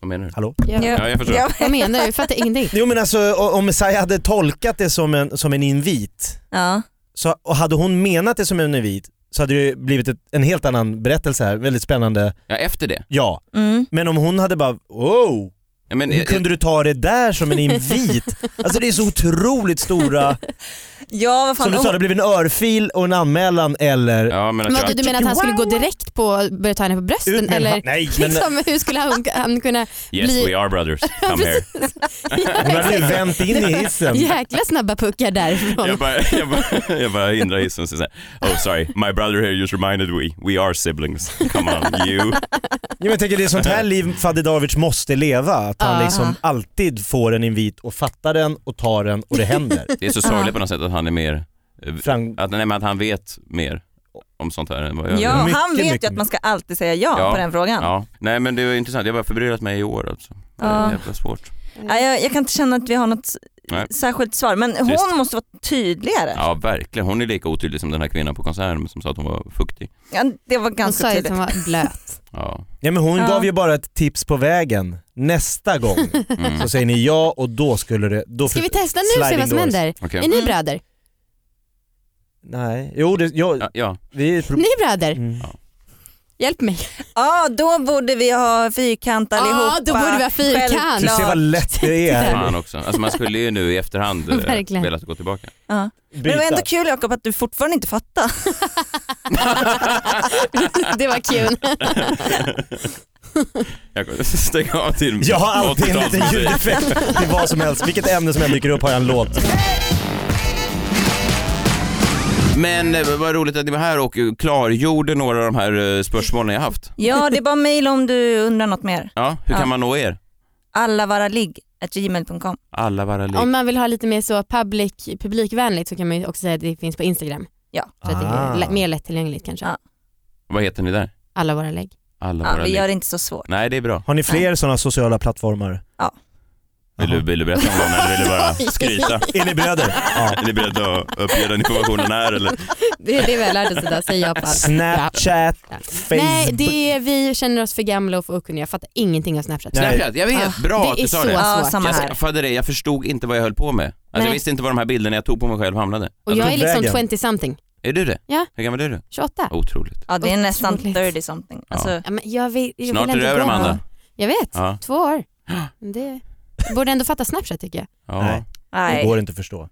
[SPEAKER 4] Vad menar du?
[SPEAKER 7] Hallå?
[SPEAKER 4] Ja, jag förstår.
[SPEAKER 6] Ja.
[SPEAKER 5] Vad menar du? Jag fattar ingenting.
[SPEAKER 7] Jo men alltså o- om Messiah hade tolkat det som en, som en invit,
[SPEAKER 6] Ja.
[SPEAKER 7] så, och hade hon menat det som en invit så hade det ju blivit ett, en helt annan berättelse här, väldigt spännande,
[SPEAKER 4] Ja, efter det.
[SPEAKER 7] ja.
[SPEAKER 6] Mm.
[SPEAKER 7] Men om hon hade bara, wow,
[SPEAKER 4] Ja, men,
[SPEAKER 7] hur kunde du ta det där som en invit? Alltså det är så otroligt stora,
[SPEAKER 6] ja, vad
[SPEAKER 7] som
[SPEAKER 6] fan.
[SPEAKER 7] du sa, det blev en örfil och en anmälan eller...
[SPEAKER 4] ja, men att
[SPEAKER 5] Vadå,
[SPEAKER 4] jag,
[SPEAKER 5] du menar att han skulle gå direkt på att börja ta henne på
[SPEAKER 7] Ut
[SPEAKER 5] brösten?
[SPEAKER 7] med
[SPEAKER 5] Eller
[SPEAKER 7] en- Nej men
[SPEAKER 5] liksom, hur skulle han, han kunna
[SPEAKER 4] yes
[SPEAKER 5] bli
[SPEAKER 4] we are brothers, come here.
[SPEAKER 7] hon hade ju vänt in i hissen.
[SPEAKER 5] jäkla snabba puckar därifrån?
[SPEAKER 4] Jag bara, jag bara, jag bara hindrar hissen och säger så här, Oh sorry, my brother here just reminded we, we are siblings. Come on you.
[SPEAKER 7] Jo, men jag tänker det är sånt här liv Fadde Davids måste leva, att han
[SPEAKER 5] Aha.
[SPEAKER 7] liksom alltid får en invit och fattar den och tar den och det händer.
[SPEAKER 4] Det är så sorgligt på något sätt att han är mer, eh,
[SPEAKER 7] Fram-
[SPEAKER 4] att, nej, men att han vet mer om sånt här än vad jag
[SPEAKER 6] Ja,
[SPEAKER 4] gör.
[SPEAKER 6] han
[SPEAKER 7] Mycket,
[SPEAKER 6] vet ju
[SPEAKER 7] mycket.
[SPEAKER 6] att man ska alltid säga ja,
[SPEAKER 4] Ja.
[SPEAKER 6] på den frågan.
[SPEAKER 4] Ja. Nej men det var intressant, jag har bara förbryllat mig i år alltså. Det är
[SPEAKER 6] Ja.
[SPEAKER 4] jävla svårt.
[SPEAKER 6] Ja, jag, jag kan inte känna att vi har något
[SPEAKER 4] Nej.
[SPEAKER 6] särskilt svar, men hon
[SPEAKER 4] Trist.
[SPEAKER 6] måste vara tydligare. Ja.
[SPEAKER 4] Ja verkligen, hon är lika otydlig som den här kvinnan på konserten som sa att hon var fuktig.
[SPEAKER 6] det var
[SPEAKER 5] Hon
[SPEAKER 6] ganska
[SPEAKER 5] sa ju att
[SPEAKER 6] tydligt.
[SPEAKER 5] han var blöt.
[SPEAKER 4] Ja.
[SPEAKER 7] Ja, men hon
[SPEAKER 6] Ja.
[SPEAKER 7] gav ju bara ett tips på vägen. Nästa gång
[SPEAKER 4] Mm.
[SPEAKER 7] så säger ni ja och då skulle det... Då
[SPEAKER 5] Ska vi testa nu och se
[SPEAKER 7] sliding
[SPEAKER 5] vad som
[SPEAKER 7] doors.
[SPEAKER 5] händer?
[SPEAKER 4] Okej.
[SPEAKER 5] Är ni bröder?
[SPEAKER 7] Mm. Nej, jo, det, jo
[SPEAKER 4] Ja, ja.
[SPEAKER 7] vi är...
[SPEAKER 5] Ni är bröder?
[SPEAKER 7] Mm.
[SPEAKER 5] Hjälp mig.
[SPEAKER 6] Ja, då borde vi ha fyrkant allihopa.
[SPEAKER 5] då borde vi ha fyrkant.
[SPEAKER 7] Du
[SPEAKER 6] Självklart.
[SPEAKER 7] ser vad lätt det är.
[SPEAKER 4] Fan också. Alltså man skulle ju nu i efterhand eh,
[SPEAKER 5] Verkligen.
[SPEAKER 4] velat gå tillbaka.
[SPEAKER 6] Ja. Men det var ändå kul Jakob att du fortfarande inte fattar.
[SPEAKER 5] Det var kul.
[SPEAKER 4] Jag kommer stänga av till
[SPEAKER 7] Jag har alltid en liten
[SPEAKER 4] 80-talsmusik.
[SPEAKER 7] ljudeffekt till vad som helst. Vilket ämne som än dyker upp har jag en låt.
[SPEAKER 4] Men eh, vad roligt att ni var här och eh, klargjorde några av de här eh, spörsmålen jag haft.
[SPEAKER 6] Ja, det är bara mejl om du undrar något mer.
[SPEAKER 4] Ja, hur
[SPEAKER 6] Ja.
[SPEAKER 4] kan man nå er?
[SPEAKER 6] Allavaraligg.gmail.com.
[SPEAKER 4] Alla vara lik.
[SPEAKER 5] Om man vill ha lite mer så public, publikvänligt så kan man ju också säga att det finns på Instagram.
[SPEAKER 6] Ja.
[SPEAKER 5] Så att det
[SPEAKER 7] Ah.
[SPEAKER 5] är lä- mer lättillgängligt kanske.
[SPEAKER 6] Ja.
[SPEAKER 4] Vad heter ni där?
[SPEAKER 5] Alla våra lägg.
[SPEAKER 4] Alla
[SPEAKER 6] Ja,
[SPEAKER 4] vara
[SPEAKER 6] vi
[SPEAKER 4] lik.
[SPEAKER 6] gör det inte så svårt.
[SPEAKER 4] Nej, det är bra.
[SPEAKER 7] Har ni fler sådana sociala plattformar?
[SPEAKER 6] Ja.
[SPEAKER 4] Vill du, vill du berätta om dem eller vill du bara skryta?
[SPEAKER 7] Är ni bröder? Ja.
[SPEAKER 4] Är ni beredda att uppge den informationen här eller?
[SPEAKER 5] Det är det vi har lärt oss idag, säg ja på allt.
[SPEAKER 7] Snapchat,
[SPEAKER 5] Ja. Nej,
[SPEAKER 7] Facebook.
[SPEAKER 5] det är, vi känner oss för gamla och för okunniga. Jag fattar ingenting av Snapchat.
[SPEAKER 7] Nej.
[SPEAKER 4] Snapchat, jag vet. bra att
[SPEAKER 5] det är
[SPEAKER 4] du sa
[SPEAKER 5] så
[SPEAKER 4] det.
[SPEAKER 6] Ja,
[SPEAKER 5] svårt.
[SPEAKER 6] samma
[SPEAKER 4] Jag
[SPEAKER 6] här.
[SPEAKER 4] skaffade det, jag förstod inte vad jag höll på med. Alltså, jag
[SPEAKER 5] Nej.
[SPEAKER 4] visste inte var de här bilderna jag tog på mig själv hamnade.
[SPEAKER 5] Och jag är liksom
[SPEAKER 7] Vägen.
[SPEAKER 5] 20 something,
[SPEAKER 4] Är du det?
[SPEAKER 5] Ja.
[SPEAKER 4] Hur gammal är du?
[SPEAKER 5] 28.
[SPEAKER 4] Otroligt.
[SPEAKER 6] Ja, det är nästan
[SPEAKER 5] Otroligt.
[SPEAKER 6] 30 something.
[SPEAKER 4] Ja.
[SPEAKER 6] Alltså,
[SPEAKER 5] Ja, men jag vill, jag
[SPEAKER 4] Snart
[SPEAKER 5] vill
[SPEAKER 4] är det
[SPEAKER 5] ändå
[SPEAKER 4] över
[SPEAKER 5] gå.
[SPEAKER 4] Amanda.
[SPEAKER 5] Jag vet,
[SPEAKER 4] Ja.
[SPEAKER 5] två år. Men Det borde ändå fatta Snapchat tycker jag.
[SPEAKER 4] Ja.
[SPEAKER 7] Nej. Det
[SPEAKER 6] nej.
[SPEAKER 7] går inte att förstå.